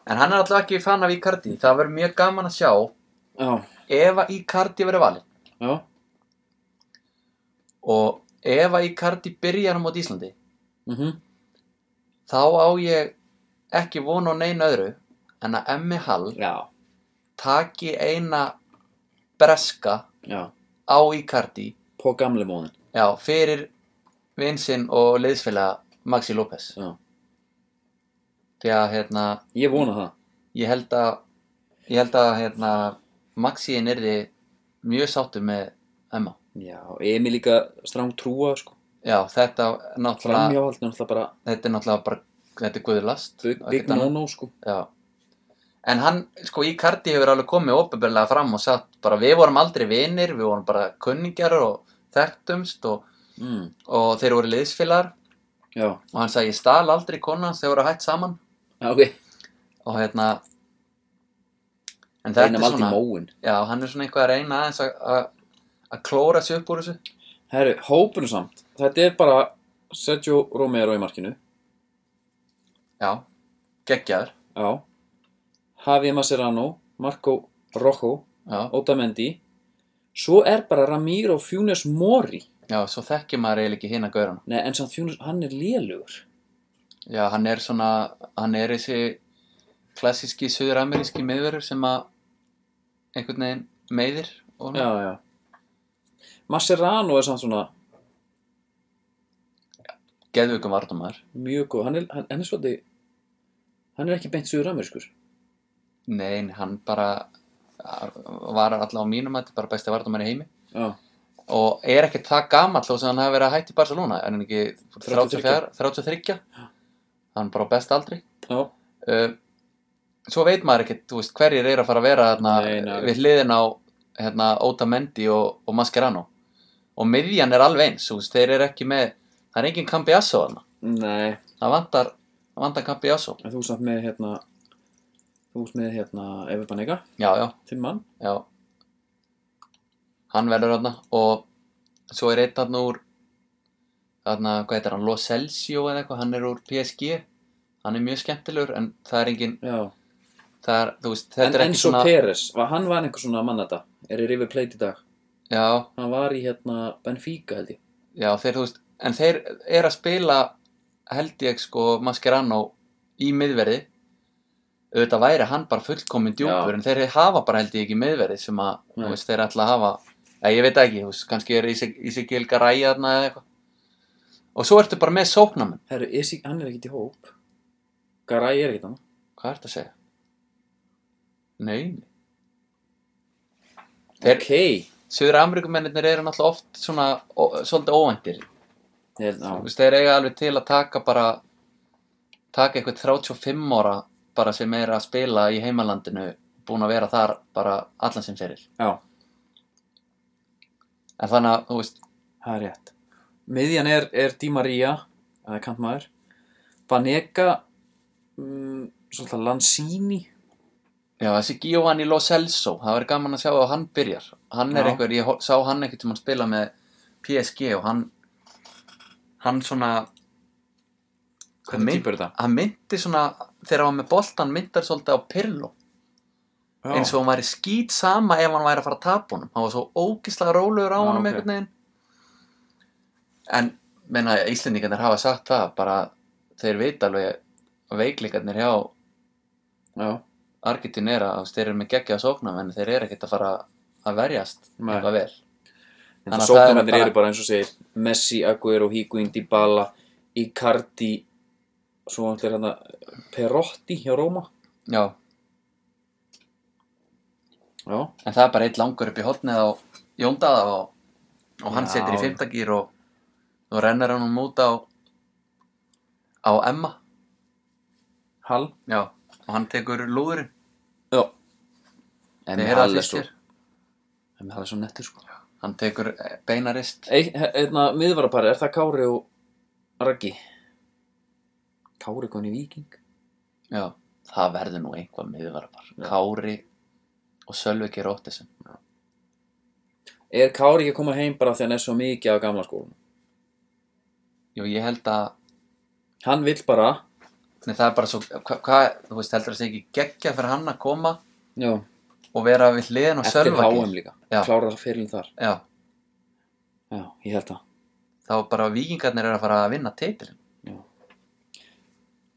[SPEAKER 3] en hann er alltaf ekki fan af Icardi það verður mjög gaman að sjá
[SPEAKER 2] já,
[SPEAKER 3] ef að Icardi verður valinn
[SPEAKER 2] já,
[SPEAKER 3] og ef að Icardi byrjar á mót Íslandi
[SPEAKER 2] mhm
[SPEAKER 3] þá á ég ekki von á neina öðru en að Emmi Hall
[SPEAKER 2] Já,
[SPEAKER 3] taki eina breska
[SPEAKER 2] já,
[SPEAKER 3] á Icardi
[SPEAKER 2] på gamle móðin
[SPEAKER 3] já, fyrir vinsinn og liðsfélaga Maxi López
[SPEAKER 2] já.
[SPEAKER 3] því að hérna,
[SPEAKER 2] ég vona það
[SPEAKER 3] ég held að ég held að hérna, Maxi er nyrði mjög sáttur með Emma
[SPEAKER 2] já, Emil líka stráng trúa sko.
[SPEAKER 3] já, þetta náttúrulega
[SPEAKER 2] framhjáhald er náttúrulega bara
[SPEAKER 3] þetta er náttúrulega bara, þetta er guðlast
[SPEAKER 2] big, big no no sko.
[SPEAKER 3] Já. En hann, sko, Icardi hefur alveg komið opinberlega fram og sagt bara við vorum aldrei vinir, við vorum bara kunningjar og þekktumst og,
[SPEAKER 2] mm,
[SPEAKER 3] og þeir voru liðsfélagar
[SPEAKER 2] já,
[SPEAKER 3] og hann sagði ég stal aldrei konu hans, þeir voru hætt saman
[SPEAKER 2] já ok
[SPEAKER 3] og hérna en þetta
[SPEAKER 2] reynum
[SPEAKER 3] er
[SPEAKER 2] aldrei
[SPEAKER 3] svona,
[SPEAKER 2] móin
[SPEAKER 3] já, hann er svona eitthvað að reyna aðeins að- að að klóra sig upp úr þessu
[SPEAKER 2] herru, hópurinn samt, þetta er bara Sergio Romero í markinu
[SPEAKER 3] já, geggjaður
[SPEAKER 2] já Javier Mascherano, Marco Rojo
[SPEAKER 3] já,
[SPEAKER 2] Otamendi svo er bara Ramiro Funes Mori
[SPEAKER 3] já, svo þekkir maður eiginlega ekki hinn að gaurana
[SPEAKER 2] Nei, en samt Funes, hann er lélugur
[SPEAKER 3] Já, hann er svona, hann er þessi klassíski suður-ameríski miðverður sem að einhvern veginn meiðir og
[SPEAKER 2] já, já Mascherano er samt svona
[SPEAKER 3] geðvöku varnumar.
[SPEAKER 2] mjög góð, hann er, hann, hann er svolítið hann er ekki beint suður-amerískur
[SPEAKER 3] Nei, nei, hann bara var alltaf á mínum að þetta bara besti varnumar í heimi
[SPEAKER 2] já,
[SPEAKER 3] og er ekki það gamall þó sem hann hafi verið að hætti í Barcelona, er hann ekki 34, 33, hann bara á best aldri.
[SPEAKER 2] já,
[SPEAKER 3] Uh, svo veit maður ekki, þú veist, hverjir er að fara að vera þarna
[SPEAKER 2] Nei, nei.
[SPEAKER 3] við hliðin á hérna, Otamendi og, og Mascherano og miðjan er alveg eins, þú veist, þeir eru ekki með það er engin Cambiasso þarna
[SPEAKER 2] nei
[SPEAKER 3] það vantar, það vantar Cambiasso
[SPEAKER 2] en þú samt með hérna þú ert með hérna Efi Banega,
[SPEAKER 3] já, já,
[SPEAKER 2] fimm mann
[SPEAKER 3] já hann verður þarna og svo er einn þarna úr þarna, hvað heitir hann, Lo Celso eða eitthvað, hann er úr PSG hann er mjög skemmtilegur en það er engin,
[SPEAKER 2] já.
[SPEAKER 3] það er, þú veist,
[SPEAKER 2] en
[SPEAKER 3] þetta er ekki
[SPEAKER 2] Enzo
[SPEAKER 3] svona
[SPEAKER 2] Pérez, var, hann var einhver svona mann þetta er í River Plate í dag
[SPEAKER 3] já,
[SPEAKER 2] hann var í hérna Benfica held ég
[SPEAKER 3] Já, þeir, þú veist, en þeir er að spila, held ég, sko, Mascherano í miðverði. Auðvitað væri hann bara fullkomin djúpur,
[SPEAKER 2] Já.
[SPEAKER 3] en þeir hafa bara, held ég, ekki miðverði sem að,
[SPEAKER 2] Nei.
[SPEAKER 3] þú veist, þeir ætla að hafa, eða ég veit ekki, þú veist, kannski er Ísikil Garæja þarna eða eitthvað. Og svo ertu bara með sóknamenn.
[SPEAKER 2] Herru, Isi, hann er ekkert í hóp Garay er ekkert hann
[SPEAKER 3] Hvað ertu að segja? Nei. Þeir,
[SPEAKER 2] ok ég,
[SPEAKER 3] Suður Ameríkumennir eru náttúrulega oft svona, ó, svolítið óvæntir.
[SPEAKER 2] held-
[SPEAKER 3] Þú
[SPEAKER 2] já,
[SPEAKER 3] veist, þeir eiga alveg til að taka bara taka eitthvað 35 ára bara sem er að spila í heimalandinu búin að vera þar bara allan sem fyrir
[SPEAKER 2] já,
[SPEAKER 3] en þannig að, þú veist,
[SPEAKER 2] það er rétt miðjan er, er Di Maria eða kantmaður Banega mm, svolítið Lanzini
[SPEAKER 3] já, þessi Giovanni Lo Celso það verður gaman að sjá að hann byrjar hann er
[SPEAKER 2] Já.
[SPEAKER 3] einhver, ég hor- sá hann ekkert um hann spila með PSG og hann hann svona hann
[SPEAKER 2] hvernig
[SPEAKER 3] mynd-
[SPEAKER 2] týpur er þetta?
[SPEAKER 3] hann myndi svona, þegar hann var með boltan myndar svolítið á Pirlo
[SPEAKER 2] Já.
[SPEAKER 3] eins og hann væri skýt sama ef hann væri að fara að tapa honum hann var svo ógislega rólegur á
[SPEAKER 2] Já,
[SPEAKER 3] honum
[SPEAKER 2] ok.
[SPEAKER 3] einhvern veginn en menna Íslendingarnir hafa sagt það bara þeir vita alveg veikleikarnir hjá
[SPEAKER 2] já,
[SPEAKER 3] Argentín er að þeir eru með geggja að sókna en þeir eru ekkert að fara að verjast
[SPEAKER 2] Nei.
[SPEAKER 3] eitthvað vel
[SPEAKER 2] En það
[SPEAKER 3] Þannig að það er
[SPEAKER 2] sóknarmennir
[SPEAKER 3] bara-
[SPEAKER 2] eru bara eins og segir Messi, Agüero, Higuain, Dybala, Icardi, svo allir hérna Perotti hjá Róma.
[SPEAKER 3] já,
[SPEAKER 2] Já,
[SPEAKER 3] en það er bara eitt langur upp í hotnið á Jóndaða og, og hann
[SPEAKER 2] Já.
[SPEAKER 3] setur í fimmtagýr og, og rennir hann um út á á Emma
[SPEAKER 2] Hall.
[SPEAKER 3] já, og hann tekur lúðurinn
[SPEAKER 2] Já.
[SPEAKER 3] Þeir
[SPEAKER 2] En
[SPEAKER 3] eru
[SPEAKER 2] Hall
[SPEAKER 3] að
[SPEAKER 2] er svo,
[SPEAKER 3] fyrstjör
[SPEAKER 2] en Hall er svo nettur sko.
[SPEAKER 3] Hann tekur eh, beinarist
[SPEAKER 2] Ein- he- Einna miðvarapari, er það Kári og Raggi? Kári koni viking?
[SPEAKER 3] Já. Það verður nú einhvað miðvarpar
[SPEAKER 2] Já.
[SPEAKER 3] Kári og Sölvi Geir Óttesen
[SPEAKER 2] Er Kári ekki að koma heim bara þegar hann er svo mikið af gamla skólanum?
[SPEAKER 3] Jú, ég held að
[SPEAKER 2] Hann vill bara,
[SPEAKER 3] Nei, það er bara svo Hvað, hva, þú veist, heldur það sé ekki geggja fyrir hann að koma
[SPEAKER 2] já,
[SPEAKER 3] og vera við hliðin á
[SPEAKER 2] eftir
[SPEAKER 3] Sölva
[SPEAKER 2] HM
[SPEAKER 3] Geir
[SPEAKER 2] líka,
[SPEAKER 3] Já.
[SPEAKER 2] klára það fyrirlin þar.
[SPEAKER 3] Já,
[SPEAKER 2] Já, ég held það.
[SPEAKER 3] þá bara vikingarnir eru að fara að vinna titilin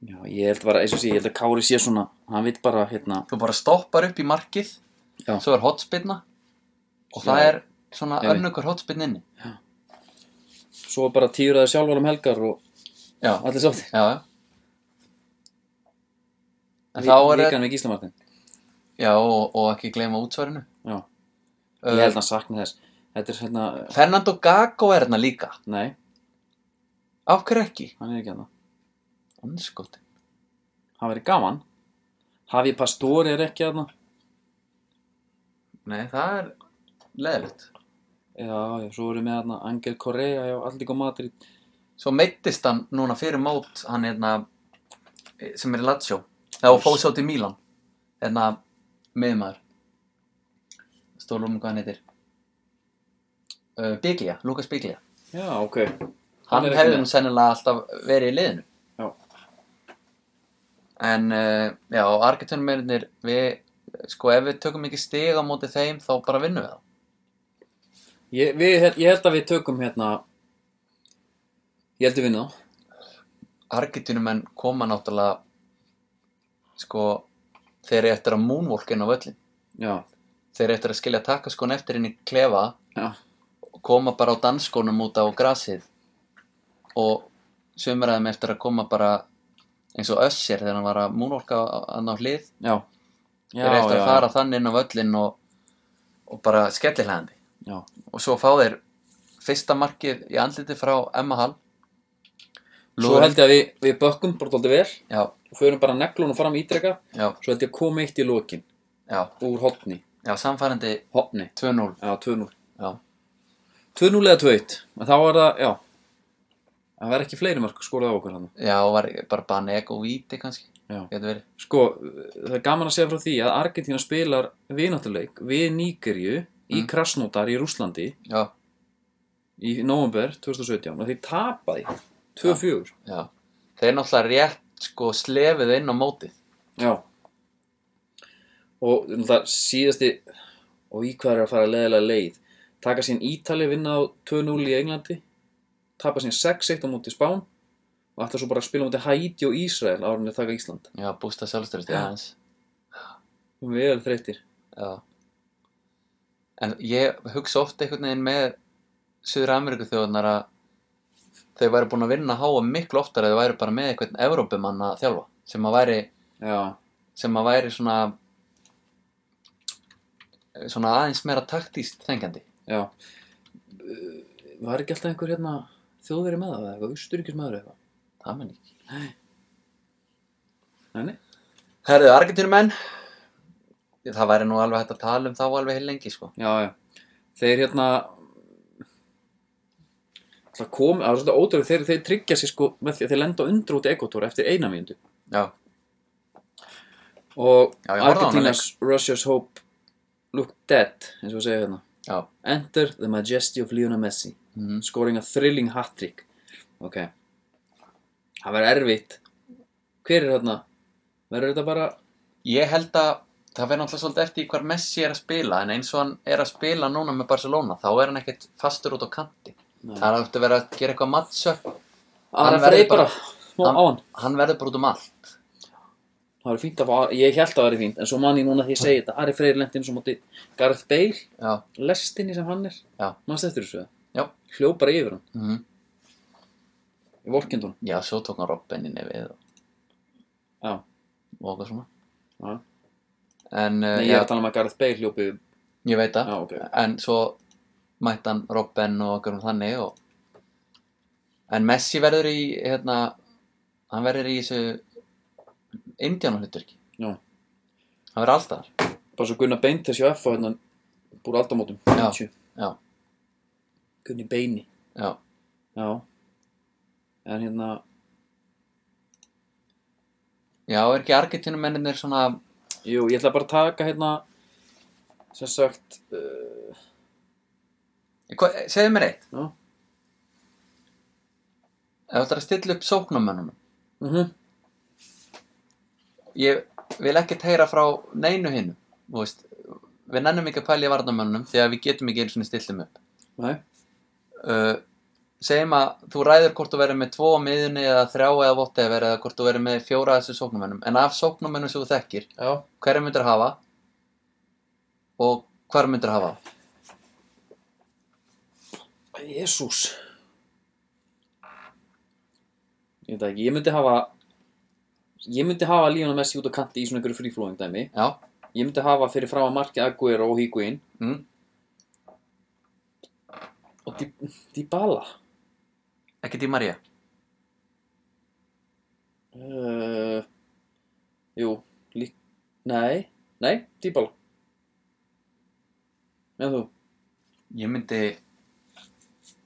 [SPEAKER 2] Já, ég held bara, eins og sé, ég held að Kári sé svona, hann vill bara, hérna,
[SPEAKER 3] Þú bara stoppar upp í markið
[SPEAKER 2] Já.
[SPEAKER 3] Svo er hotspinna og það
[SPEAKER 2] Já.
[SPEAKER 3] er svona
[SPEAKER 2] Nei, nei.
[SPEAKER 3] önnugur hotspinn inni
[SPEAKER 2] Svo bara týraði sjálfur um helgar og
[SPEAKER 3] já, já,
[SPEAKER 2] allir sátti.
[SPEAKER 3] já en þá er
[SPEAKER 2] Líkan við Gíslamartin.
[SPEAKER 3] já, og, og ekki gleyma útsvarinu
[SPEAKER 2] Já. Ég held
[SPEAKER 3] uh,
[SPEAKER 2] að hann sakni þess. Þetta er hérna,
[SPEAKER 3] Fernando Gago er hérna líka
[SPEAKER 2] nei,
[SPEAKER 3] af hverju ekki?
[SPEAKER 2] hann er ekki hérna.
[SPEAKER 3] Andskoti.
[SPEAKER 2] Hann verið gaman. Hafi Pastori er ekki hérna.
[SPEAKER 3] nei, það er leðilegt
[SPEAKER 2] Já, já, svo erum við hérna Angel Correa hjá Allíko Madrid.
[SPEAKER 3] svo meittist hann núna fyrir mót hann hérna eh, sem er í Lazio eða fóð svo til Mílan hérna miðmaður stólum hvað hann heitir uh, Biglia, Lukas Biglia
[SPEAKER 2] Já, ok.
[SPEAKER 3] hann
[SPEAKER 2] er ekki
[SPEAKER 3] hefði
[SPEAKER 2] með.
[SPEAKER 3] nú sennilega alltaf verið í liðinu
[SPEAKER 2] Já.
[SPEAKER 3] en uh, já, Argeturnmeirinir við sko ef við tökum ekki stig á móti þeim þá bara vinnum við það
[SPEAKER 2] Ég, við, ég held að við tökum hérna, ég held að við vinnum þá.
[SPEAKER 3] Argeturnumenn koma náttúrulega sko þeir eru eftir að moonwalk inn á völlin
[SPEAKER 2] Já,
[SPEAKER 3] þeir eru eftir að skilja takkaskon eftir inn í klefa
[SPEAKER 2] já,
[SPEAKER 3] og koma bara á danskónum út á grasið og sömraðum eftir að koma bara eins og össir þegar hann var að moonwalka hann á hlið
[SPEAKER 2] já.
[SPEAKER 3] þeir eru eftir að fara þann inn á völlin og, og bara skellir hlæðandi
[SPEAKER 2] Já,
[SPEAKER 3] og svo fá þeir fyrsta markið í andliti frá Emma Hall
[SPEAKER 2] svo held ég að við, við bökkum bara tóldi vel
[SPEAKER 3] já,
[SPEAKER 2] og förum bara neglunum fram ítreka
[SPEAKER 3] já,
[SPEAKER 2] svo held ég að koma eitt í lokin
[SPEAKER 3] já,
[SPEAKER 2] úr hotni,
[SPEAKER 3] já, samfærandi
[SPEAKER 2] hotni
[SPEAKER 3] 2-0
[SPEAKER 2] já, 2-0
[SPEAKER 3] já,
[SPEAKER 2] 2-0 eða 2-1 en þá er það, já það verð ekki fleiri mörg skorað á okkur hann
[SPEAKER 3] já, var bara bani ekko víti kannski,
[SPEAKER 2] Já.
[SPEAKER 3] getur verið
[SPEAKER 2] sko, það er gaman að segja frá því að Argentína spilar vináttuleik við Níkerju í
[SPEAKER 3] Mm.
[SPEAKER 2] Krasnótar í Rúslandi
[SPEAKER 3] já,
[SPEAKER 2] í november 2017 og þeir tapaði 2-4
[SPEAKER 3] já, þeir náttúrulega rétt sko slefið inn á mótið
[SPEAKER 2] já og það síðasti og í hvað er að fara leðilega leið taka sín Ítali vinna á 2-0 í Englandi tapa sín 6-1 á móti Spán og ætla svo bara að spila á móti Haiti og Ísrael ára en þeir taka Ísland
[SPEAKER 3] já, bústa
[SPEAKER 2] Já.
[SPEAKER 3] sjálfstyrst, já, aðeins
[SPEAKER 2] vel þreyttir
[SPEAKER 3] já en ég hugsa oft einhvern veginn með Suður Ameríku þjóðunar að þau væri búin að vinna háa miklu oftar að þau væri bara með einhvern Evrópumann að þjálfa sem að væri,
[SPEAKER 2] já,
[SPEAKER 3] sem að væri svona svona aðeins meira taktíst þengjandi
[SPEAKER 2] já Uh, var ekki alltaf einhver hérna þjóðveri með það eða eitthvað, austuríkis maður eða
[SPEAKER 3] það menn ekki
[SPEAKER 2] eitthvað nei, nei,
[SPEAKER 3] Herðu, Argentínumenn það væri nú alveg hægt að tala um þá alveg heil lengi sko
[SPEAKER 2] já, já þeir hérna það kom, það var svolítið ótrúið þeir, þeir tryggja sér sko, með því að þeir lenda undur út í ekotóra eftir eina mínútu
[SPEAKER 3] já,
[SPEAKER 2] og
[SPEAKER 3] Já, ég horfði á þennan
[SPEAKER 2] Argentina's Russia's Hope look dead, eins og við segja hérna
[SPEAKER 3] já,
[SPEAKER 2] Enter the majesty of Lionel Messi
[SPEAKER 3] Mhm.
[SPEAKER 2] scoring a thrilling hat-trick ok það verður erfitt hver er þarna? verður þetta bara
[SPEAKER 3] ég held að það verður náttúrulega svolítið eftir í hvar Messi er að spila en eins og hann er að spila núna með Barcelona þá er hann ekkert fastur út á kanti
[SPEAKER 2] Nei.
[SPEAKER 3] það er aftur að vera að gera eitthvað mattsöp
[SPEAKER 2] Ara
[SPEAKER 3] verður
[SPEAKER 2] Frey bara
[SPEAKER 3] bara-
[SPEAKER 2] smá á hann
[SPEAKER 3] hann verður bara út um allt
[SPEAKER 2] það verður fínt að fá ég held að það verður fínt en svo man ég núna því ég segi þetta Ari Freyr lendin svo móti Gareth Bale
[SPEAKER 3] já,
[SPEAKER 2] lestinni sem hann er
[SPEAKER 3] Já.
[SPEAKER 2] mannst eftir þessu
[SPEAKER 3] já,
[SPEAKER 2] hljóp bara yfir hann
[SPEAKER 3] mm
[SPEAKER 2] í vorkindunum
[SPEAKER 3] já, svo tók hann Robbeninni við og-
[SPEAKER 2] já
[SPEAKER 3] og okkar svona
[SPEAKER 2] Já.
[SPEAKER 3] en uh,
[SPEAKER 2] Nei, ég er
[SPEAKER 3] Eh, já,
[SPEAKER 2] að tala um að Gareth Bale hljópi
[SPEAKER 3] ég veit það
[SPEAKER 2] Já, ok.
[SPEAKER 3] en svo mætti hann Robben og okkar um þannig og en Messi verður í hérna, hann verður í þessu Indiana hlutverki
[SPEAKER 2] já
[SPEAKER 3] hann verður alltaf
[SPEAKER 2] bara svo Gunnar Beint þessi F á hérna búr aldamótum
[SPEAKER 3] Já.
[SPEAKER 2] 90.
[SPEAKER 3] Já,
[SPEAKER 2] Gunni Beini
[SPEAKER 3] já,
[SPEAKER 2] já en hérna
[SPEAKER 3] já, er ekki Argentínumenninir svona
[SPEAKER 2] Jú, ég ætla bara að taka hérna sem sagt uh,
[SPEAKER 3] Hva, Segðu mér eitt,
[SPEAKER 2] já,
[SPEAKER 3] ef þú ætlar að stilla upp sóknarmönnunum
[SPEAKER 2] mm
[SPEAKER 3] Ég vil ekki heyra frá neinu hinu Þú veist, við nennum ekki að pæla í varnarmönnunum Því að við getum ekki einu svona stillum upp
[SPEAKER 2] nei,
[SPEAKER 3] uh, Segjum að þú ræður hvort þú verður með tvo á miðunni Eða þrjá eða whatever Eða hvort þú verður með fjóra af þessu sóknarmönnum En af sóknarmönnum sem þú þekkir,
[SPEAKER 2] já
[SPEAKER 3] hverju myndir hafa Og hvar myndir hafa
[SPEAKER 2] Jésús Ég veit það ekki, ég myndi hafa Ég myndi hafa Lionel Messi út á kanti í svona einhverju fríflóðum dæmi
[SPEAKER 3] Já,
[SPEAKER 2] Ég myndi hafa fyrir fram að marki Aguero og Higuin
[SPEAKER 3] mm.
[SPEAKER 2] og Di- Dybala
[SPEAKER 3] ekki Di Maria
[SPEAKER 2] uh, Jú, lík Nei, nei, Dybala En þú?
[SPEAKER 3] Ég myndi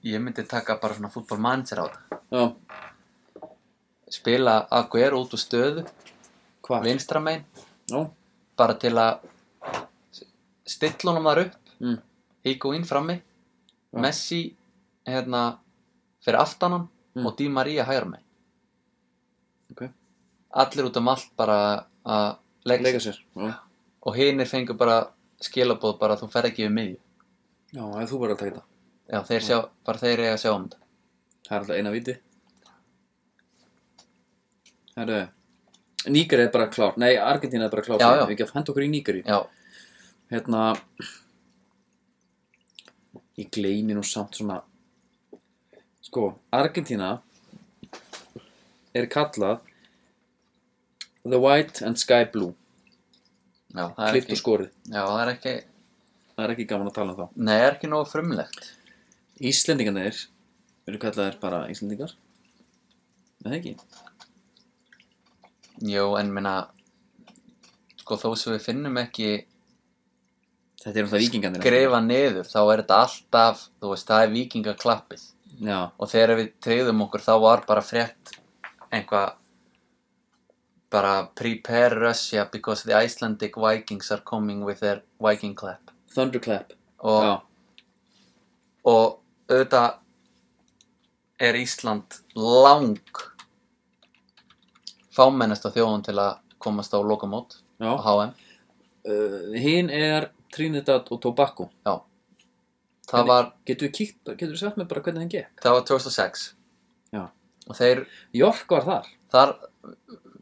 [SPEAKER 3] Ég myndi taka bara svona fútbolmanager á þetta
[SPEAKER 2] Já,
[SPEAKER 3] Spila Aguero út úr stöðu
[SPEAKER 2] hvað?
[SPEAKER 3] Vinstra megin
[SPEAKER 2] Já,
[SPEAKER 3] bara til að stilla honum þar upp
[SPEAKER 2] Mm.
[SPEAKER 3] Higo inn frammi
[SPEAKER 2] Já.
[SPEAKER 3] Messi hérna fyrir aftan hann
[SPEAKER 2] Mm.
[SPEAKER 3] og Di Maria hægur mig
[SPEAKER 2] Ok.
[SPEAKER 3] allir út um allt bara að leika
[SPEAKER 2] leika sér
[SPEAKER 3] sér
[SPEAKER 2] Já,
[SPEAKER 3] og hinir fengur bara skilaboð bara þú ferð ekki við miðju
[SPEAKER 2] já ef þú verður að taka þetta
[SPEAKER 3] Já, þeir sjá,
[SPEAKER 2] Mm.
[SPEAKER 3] bara þeir eiga að sjá um þetta
[SPEAKER 2] Það er alltaf eina viti Herru Nígeri er bara klár, nei Argentína er bara klár
[SPEAKER 3] Já, já.
[SPEAKER 2] Við ekki að henda okkur í Nígeri
[SPEAKER 3] Já,
[SPEAKER 2] Hérna Ég gleymi nú samt svona Sko, Argentína Er kallað The White and Sky Blue
[SPEAKER 3] já, það er
[SPEAKER 2] Klift
[SPEAKER 3] ekki
[SPEAKER 2] og skorið
[SPEAKER 3] Já, það er ekki
[SPEAKER 2] Það er ekki gaman að tala um þá
[SPEAKER 3] Nei, er ekki nógu frumlegt
[SPEAKER 2] Íslendingarnir eru kallaðir bara Íslendingar Er Það ekki?
[SPEAKER 3] Jó, en minna sko þó sem við finnum ekki
[SPEAKER 2] Þetta eru alltaf vikingarnir
[SPEAKER 3] skrifa niður þá er þetta alltaf, þú veist, það er vikingaklappið
[SPEAKER 2] Já,
[SPEAKER 3] og þegar við treyðum okkur þá var bara frétt einhvað bara prepare Russia because the Icelandic Vikings are coming with their Viking clap
[SPEAKER 2] Thunderclap
[SPEAKER 3] og,
[SPEAKER 2] Já,
[SPEAKER 3] og auðvitað er Ísland lang fámennasta þjóðan til að komast á lokamót
[SPEAKER 2] já.
[SPEAKER 3] á HM
[SPEAKER 2] Uh, Hinn er Trinidad og Tobago
[SPEAKER 3] já það var,
[SPEAKER 2] Getur við kíkt, getur við sagt mér bara hvernig það gekk?
[SPEAKER 3] það var 2006
[SPEAKER 2] Já.
[SPEAKER 3] og þeir,
[SPEAKER 2] York var þar
[SPEAKER 3] þar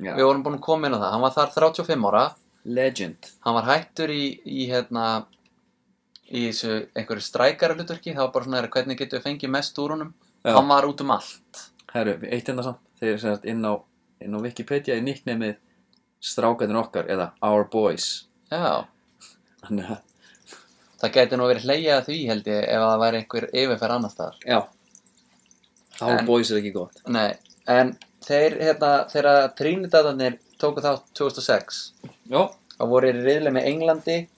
[SPEAKER 2] já.
[SPEAKER 3] Við vorum búin að koma inn á það, hann var þar 35 ára,
[SPEAKER 2] Legend
[SPEAKER 3] hann var hættur í, í hérna, í þessu einhverju strækara hlutverki, það var bara svona, "Herra, hvernig getum við fengið mest úr honum,
[SPEAKER 2] Já.
[SPEAKER 3] hann var út um allt.
[SPEAKER 2] Herru, eitt hérna samt Þeir eru sem sagt inn á, inn á Wikipedia í nicknamið Strákarnir okkar eða Our Boys
[SPEAKER 3] Já,
[SPEAKER 2] Þannig að,
[SPEAKER 3] það gæti nú verið hleyjað að því held ég ef að það væri einhver yfirferð annars staðar.
[SPEAKER 2] já Our
[SPEAKER 3] En-
[SPEAKER 2] Boys er ekki gott
[SPEAKER 3] Nei, en þeir, hérna, þegar Trinidadadarnir tóku þátt 2006,
[SPEAKER 2] Já,
[SPEAKER 3] þá voru þeir í riðli með Englandi,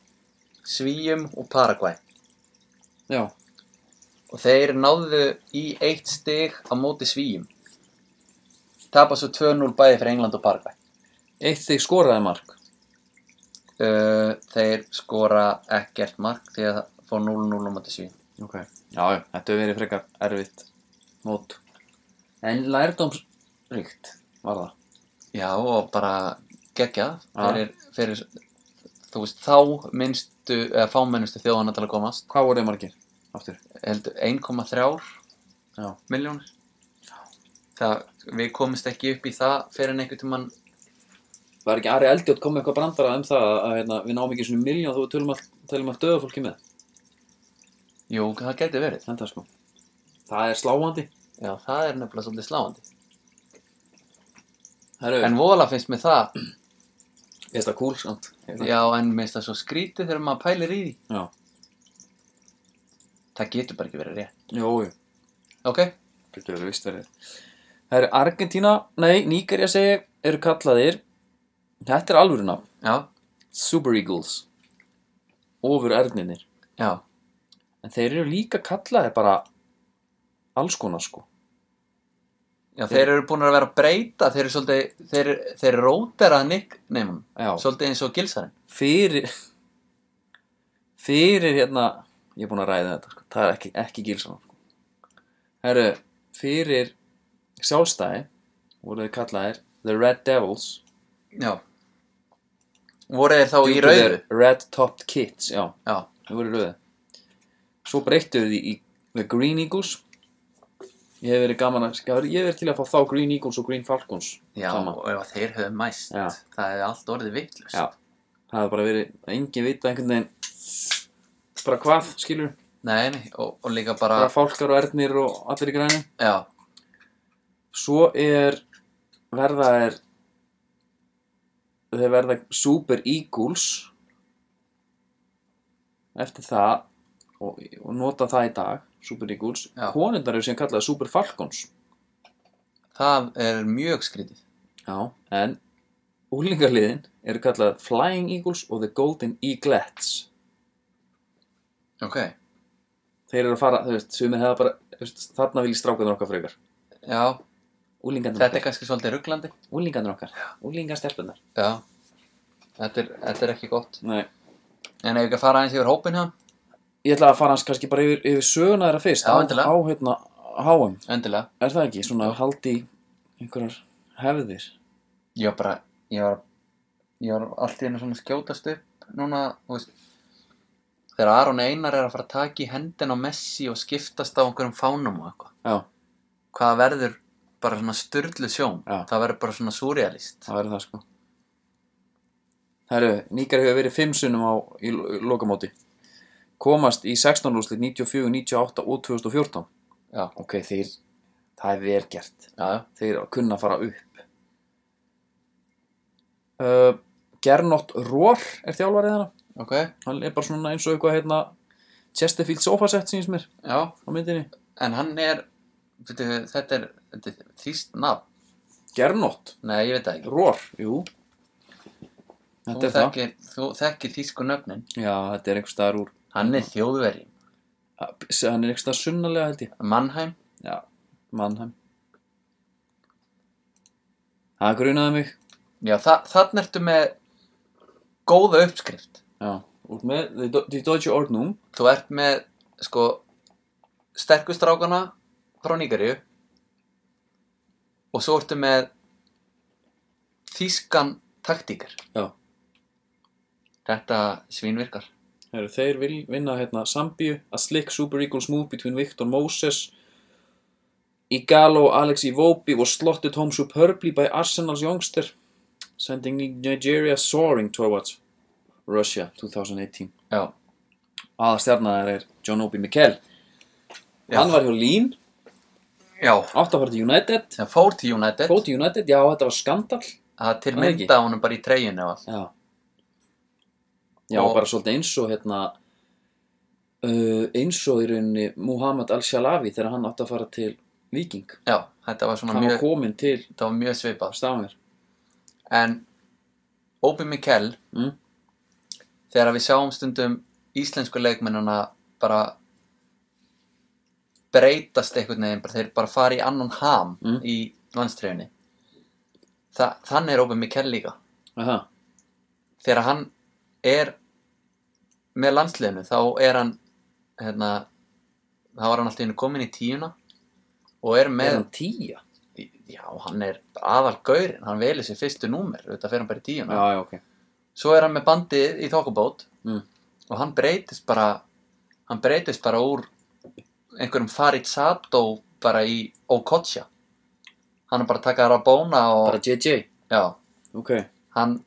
[SPEAKER 3] Svíum og Paraguay.
[SPEAKER 2] já,
[SPEAKER 3] og þeir náðu í eitt stig á móti svíjum tapast svo 2-0 bæði fyrir England og Paraguay
[SPEAKER 2] eitt þig skoraði mark
[SPEAKER 3] uh, þeir skora ekkert mark því að það fór 0-0 á móti svíjum
[SPEAKER 2] Ok Já, já, þetta hefur verið frekar erfitt Mót En lærdómsríkt var það
[SPEAKER 3] já og bara gegja
[SPEAKER 2] Já.
[SPEAKER 3] fyrir, fyrir þú veist þá minnstu eða fámennustu þjóðana til að komast
[SPEAKER 2] Hvað voru þið margir? Aftur
[SPEAKER 3] heldur 1,3
[SPEAKER 2] Já
[SPEAKER 3] miljónir það við komumst ekki upp í það fyrir en einhvern tímann
[SPEAKER 2] Var ekki Ari Eldjótt komið eitthvað brandara um það að hérna, við náum ekki svona miljón þó við tölum allt, tölum allt döða fólki með?
[SPEAKER 3] jú það gæti verið
[SPEAKER 2] Þetta sko. Það er sláandi.
[SPEAKER 3] já það er nefnilega svolítið sláandi
[SPEAKER 2] Herru, en,
[SPEAKER 3] en vola finnst mér það
[SPEAKER 2] ég veist það kúl samt.
[SPEAKER 3] Já, en mér finnst það svo skrítið þegar maður pælir í því.
[SPEAKER 2] Já.
[SPEAKER 3] Það getur bara ekki verið rétt.
[SPEAKER 2] Jó, jú.
[SPEAKER 3] Ok?
[SPEAKER 2] Getur verið vist verið. Herru, Argentína, nei, Níkerja segi, eru kallaðir, þetta er alvöru nafn,
[SPEAKER 3] Já.
[SPEAKER 2] Super Eagles, ofur erðninir.
[SPEAKER 3] Já.
[SPEAKER 2] En þeir eru líka kallaðir bara alls konar sko.
[SPEAKER 3] Já, þeir eru búin að vera að breyta, þeir eru svolítið, þeir, þeir eru róterað nick, nefnum,
[SPEAKER 2] Já.
[SPEAKER 3] svolítið eins og gilsarinn.
[SPEAKER 2] fyrir fyrir hérna ég er búinn að ræða þetta sko, það er ekki, ekki gilsan sko. herru, fyrir sjálfstæði voru þau kallaðir The Red Devils
[SPEAKER 3] Já. Voru þeir þá
[SPEAKER 2] due
[SPEAKER 3] í
[SPEAKER 2] to
[SPEAKER 3] rauðu?
[SPEAKER 2] their Red Topped Kids, já,
[SPEAKER 3] Já.
[SPEAKER 2] þau voru í rauðu svo breyttu þau því í The Green Eagles ég hef verið gaman að ég hef verið til að fá þá Green Eagles og Green Falcons
[SPEAKER 3] Já,
[SPEAKER 2] saman
[SPEAKER 3] og ef þeir höfðu mæst,
[SPEAKER 2] Já.
[SPEAKER 3] það hefði allt orðið vittlust.
[SPEAKER 2] já, það hefði bara verið engin vita einhvern veginn bara hvað, skilur
[SPEAKER 3] Já. Nei, nei, og, og líka bara,
[SPEAKER 2] bara fálkar og ernir og allir í græni
[SPEAKER 3] já,
[SPEAKER 2] svo er verða er þeir verða Super Eagles eftir það og, og nota það í dag Super Eagles,
[SPEAKER 3] Já.
[SPEAKER 2] konundar eru sem kallaða Super Falcons
[SPEAKER 3] það er mjög skrítið.
[SPEAKER 2] Já, en úlingaliðin eru kallað Flying Eagles og The Golden Eaglets.
[SPEAKER 3] Ok,
[SPEAKER 2] Þeir eru að fara, þú veist, sumir hefða bara, þú veist, þarna vilji strákunar okkar frekar.
[SPEAKER 3] já,
[SPEAKER 2] Úlingarnir
[SPEAKER 3] þetta er
[SPEAKER 2] okkar,
[SPEAKER 3] kannski svolítið rugglandi.
[SPEAKER 2] úlingarnir okkar, úlingarstelpunar.
[SPEAKER 3] Já, þetta er, þetta er ekki gott.
[SPEAKER 2] Nei,
[SPEAKER 3] En ef við ekki að fara aðeins yfir hópinn hann,
[SPEAKER 2] ég ætla að fara hans kannski bara yfir, yfir söguna þeirra fyrst.
[SPEAKER 3] Já,
[SPEAKER 2] á-
[SPEAKER 3] endilega.
[SPEAKER 2] Á hérna, háum,
[SPEAKER 3] endilega,
[SPEAKER 2] er það ekki, svona haldi í einhverjar hefðir.
[SPEAKER 3] ég var bara, ég var, ég var allt í hennu svona að skjótast upp núna, þú veist, þegar Aron Einar er að fara að taka í hendin á Messi og skiptast á einhverjum fánum og eitthvað,
[SPEAKER 2] Já,
[SPEAKER 3] hvað verður bara svona styrlu sjón,
[SPEAKER 2] Já.
[SPEAKER 3] það verður bara svona surrealist.
[SPEAKER 2] það verður það sko. Herru, Níkar hefur verið fimm sunnum á í, lo- í lokamóti. Komast í 16 rúslit 94, 98 og 2014.
[SPEAKER 3] Já,
[SPEAKER 2] ok, þeir, það er vel gert
[SPEAKER 3] já, já,
[SPEAKER 2] þeir kunna að fara upp uh, Gernot Rór er þjálfarið hana
[SPEAKER 3] ok,
[SPEAKER 2] hann er bara svona eins og eitthvað hérna Chesterfield sofasett síns mér
[SPEAKER 3] já,
[SPEAKER 2] á myndinni
[SPEAKER 3] en hann er, veitu, þetta er, þetta er þrýst nafn,
[SPEAKER 2] Gernot
[SPEAKER 3] nei, ég veit það ekki.
[SPEAKER 2] Rór, jú
[SPEAKER 3] Þú
[SPEAKER 2] þetta er það
[SPEAKER 3] þekkir, þú þekkir þýsku nöfnin
[SPEAKER 2] já, þetta er einhver staðar úr
[SPEAKER 3] Hann er þjóðveri
[SPEAKER 2] hann er einhver staðar sunnalega held ég
[SPEAKER 3] Mannheim
[SPEAKER 2] já, mannheim það grunaði mig
[SPEAKER 3] Já, þa þannig ertu með góða uppskrift
[SPEAKER 2] já, út með The Do- The Deutsche Ordnung
[SPEAKER 3] Þú ert með, sko, sterkustrákana frá Nígeríu og svo ertu með þýskan taktíkar
[SPEAKER 2] já
[SPEAKER 3] Þetta svínvirkar
[SPEAKER 2] Heru, þeir vil vinna hérna Sambíu A slick super equals move between Victor Moses Igalo, Alex Iwobi was slotted home superbly by Arsenal's youngster sending Nigeria soaring towards Russia 2018
[SPEAKER 3] Já,
[SPEAKER 2] aða stjarnar er John Obi Mikel
[SPEAKER 3] Já.
[SPEAKER 2] hann var hjá Lín
[SPEAKER 3] já
[SPEAKER 2] áttafært United
[SPEAKER 3] sem fór til United
[SPEAKER 2] fóti United, já þetta var skandal
[SPEAKER 3] Það er til
[SPEAKER 2] Var það ekki?
[SPEAKER 3] mynda honum bara í treyjunni og allt
[SPEAKER 2] já já
[SPEAKER 3] Og-
[SPEAKER 2] bara svolítið eins og hérna uh, eins og í rauninni Muhammad Al-Shalavi þegar hann átti að fara til Viking
[SPEAKER 3] Já, þetta var svona
[SPEAKER 2] hann var
[SPEAKER 3] mjög,
[SPEAKER 2] komin til
[SPEAKER 3] þetta var mjög svipað
[SPEAKER 2] Stavanger
[SPEAKER 3] En Obi Mikkel
[SPEAKER 2] Mm.
[SPEAKER 3] Þegar við sjáum stundum íslensku leikmennina bara breytast einhvern veginn bara, þeir bara fara í annan ham
[SPEAKER 2] Mm.
[SPEAKER 3] í landstriðunni Þa, þannig er Obi Mikkel líka
[SPEAKER 2] Aha.
[SPEAKER 3] þegar hann er með landsliðinu þá er hann hérna, þá er hann alltaf einu komin í tíuna og er
[SPEAKER 2] er
[SPEAKER 3] með
[SPEAKER 2] hann tíja?
[SPEAKER 3] já, hann er aðalgaurin hann velið sér fyrstu númer auðvitað fer hann bara í tíuna
[SPEAKER 2] já, já, ok
[SPEAKER 3] svo er hann með bandið í þokkabót
[SPEAKER 2] Mm.
[SPEAKER 3] og hann breytist bara hann breytist bara úr einhverjum Farid Sato bara í Okocha hann er bara að taka þar að bóna og
[SPEAKER 2] bara JJ
[SPEAKER 3] já,
[SPEAKER 2] ok,
[SPEAKER 3] hann,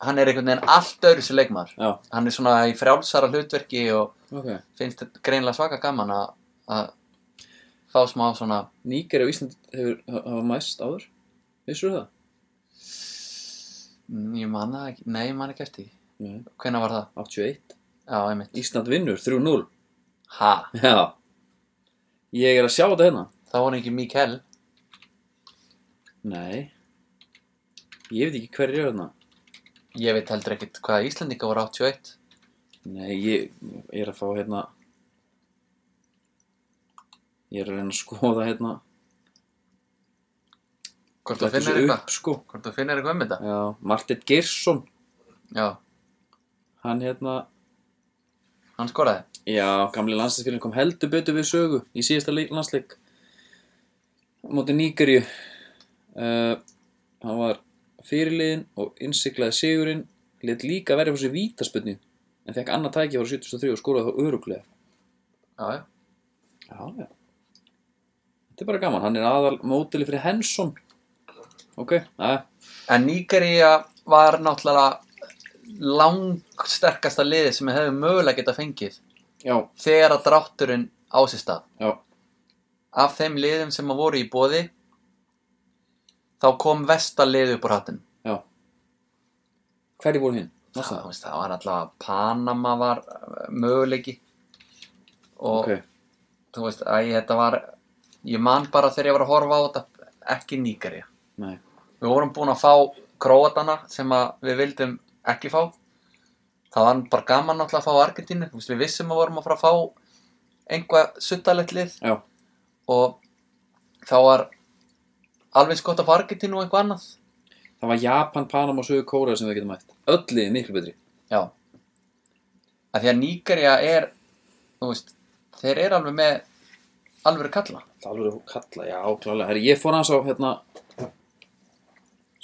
[SPEAKER 3] hann er einhvern veginn allt öðru sem leikmaður
[SPEAKER 2] já,
[SPEAKER 3] hann er svona í frjálsara hlutverki og
[SPEAKER 2] ok
[SPEAKER 3] finnst þetta greinilega svaka gaman að- að fá smá svona
[SPEAKER 2] Níger á Ísland hefur hafa mæst áður vissur það?
[SPEAKER 3] mm, ég manna ekki, nei ég manna ekki eftir því.
[SPEAKER 2] Nei.
[SPEAKER 3] hvenær var það?
[SPEAKER 2] 81
[SPEAKER 3] já, einmitt
[SPEAKER 2] Ísland vinnur 3-0
[SPEAKER 3] ha,
[SPEAKER 2] já ég er að sjá þetta hérna
[SPEAKER 3] þá var ekki Mikkel
[SPEAKER 2] nei ég veit ekki hverju hérna
[SPEAKER 3] Ég veit heldur ekkert hvað Íslandinga voru 81
[SPEAKER 2] Nei, ég er að fá hérna Ég er að reyna að skoða hérna
[SPEAKER 3] Hvort þú
[SPEAKER 2] þetta
[SPEAKER 3] finnir
[SPEAKER 2] svo
[SPEAKER 3] eitthvað
[SPEAKER 2] upp sko
[SPEAKER 3] Hvort þú finnir eitthvað um þetta
[SPEAKER 2] Já, Martin Geirsson
[SPEAKER 3] Já,
[SPEAKER 2] Hann hérna,
[SPEAKER 3] hann skoraði
[SPEAKER 2] já, gamli landsleikfélagin kom heldur betur við sögu í síðasta leik- landsleik Móti Níkerju uh, Hann var fyrirliðin og innsiklaði sigurinn Let líka verið fyrir sér vítaspönni En fekk annað tæki var 73 og skoraði þá öruglega
[SPEAKER 3] Já, já,
[SPEAKER 2] Já, já. Þetta er bara gaman, hann er aðal mótili fyrir Henson. Ok, eh, aðeins.
[SPEAKER 3] En Nígeria var náttúrulega langsterkasta liði sem við hefum mögulega geta fengið
[SPEAKER 2] já,
[SPEAKER 3] þegar að drátturinn á sér stað
[SPEAKER 2] já,
[SPEAKER 3] af þeim liðum sem að voru í bóði þá kom vesta lið upp úr hattin
[SPEAKER 2] já Hverju voru hinn?
[SPEAKER 3] það, það, veist, það var allavega Panama var uh, möguleiki og
[SPEAKER 2] Ok,
[SPEAKER 3] þú veist að þetta var ég man bara þegar ég var að horfa á þetta ekki nýgarja
[SPEAKER 2] nei,
[SPEAKER 3] við vorum búin að fá króatana sem að við vildum ekki fá það var bara gaman náttúrulega að fá Argentínu Þú veist, við vissum að vorum að fara að fá einhvað suttalegt lið
[SPEAKER 2] já,
[SPEAKER 3] og þá var alveg eins gott að fá Argentínu og eitthvað annað
[SPEAKER 2] það var Japan, Panama og Suður Kóra sem við getum mætt Öll liðið miklu betri
[SPEAKER 3] já að því að Nígerja er þú veist, þeir eru alveg með alveg kalla
[SPEAKER 2] Það alveg kalla, já, klálega Herri, ég fór hans á, hérna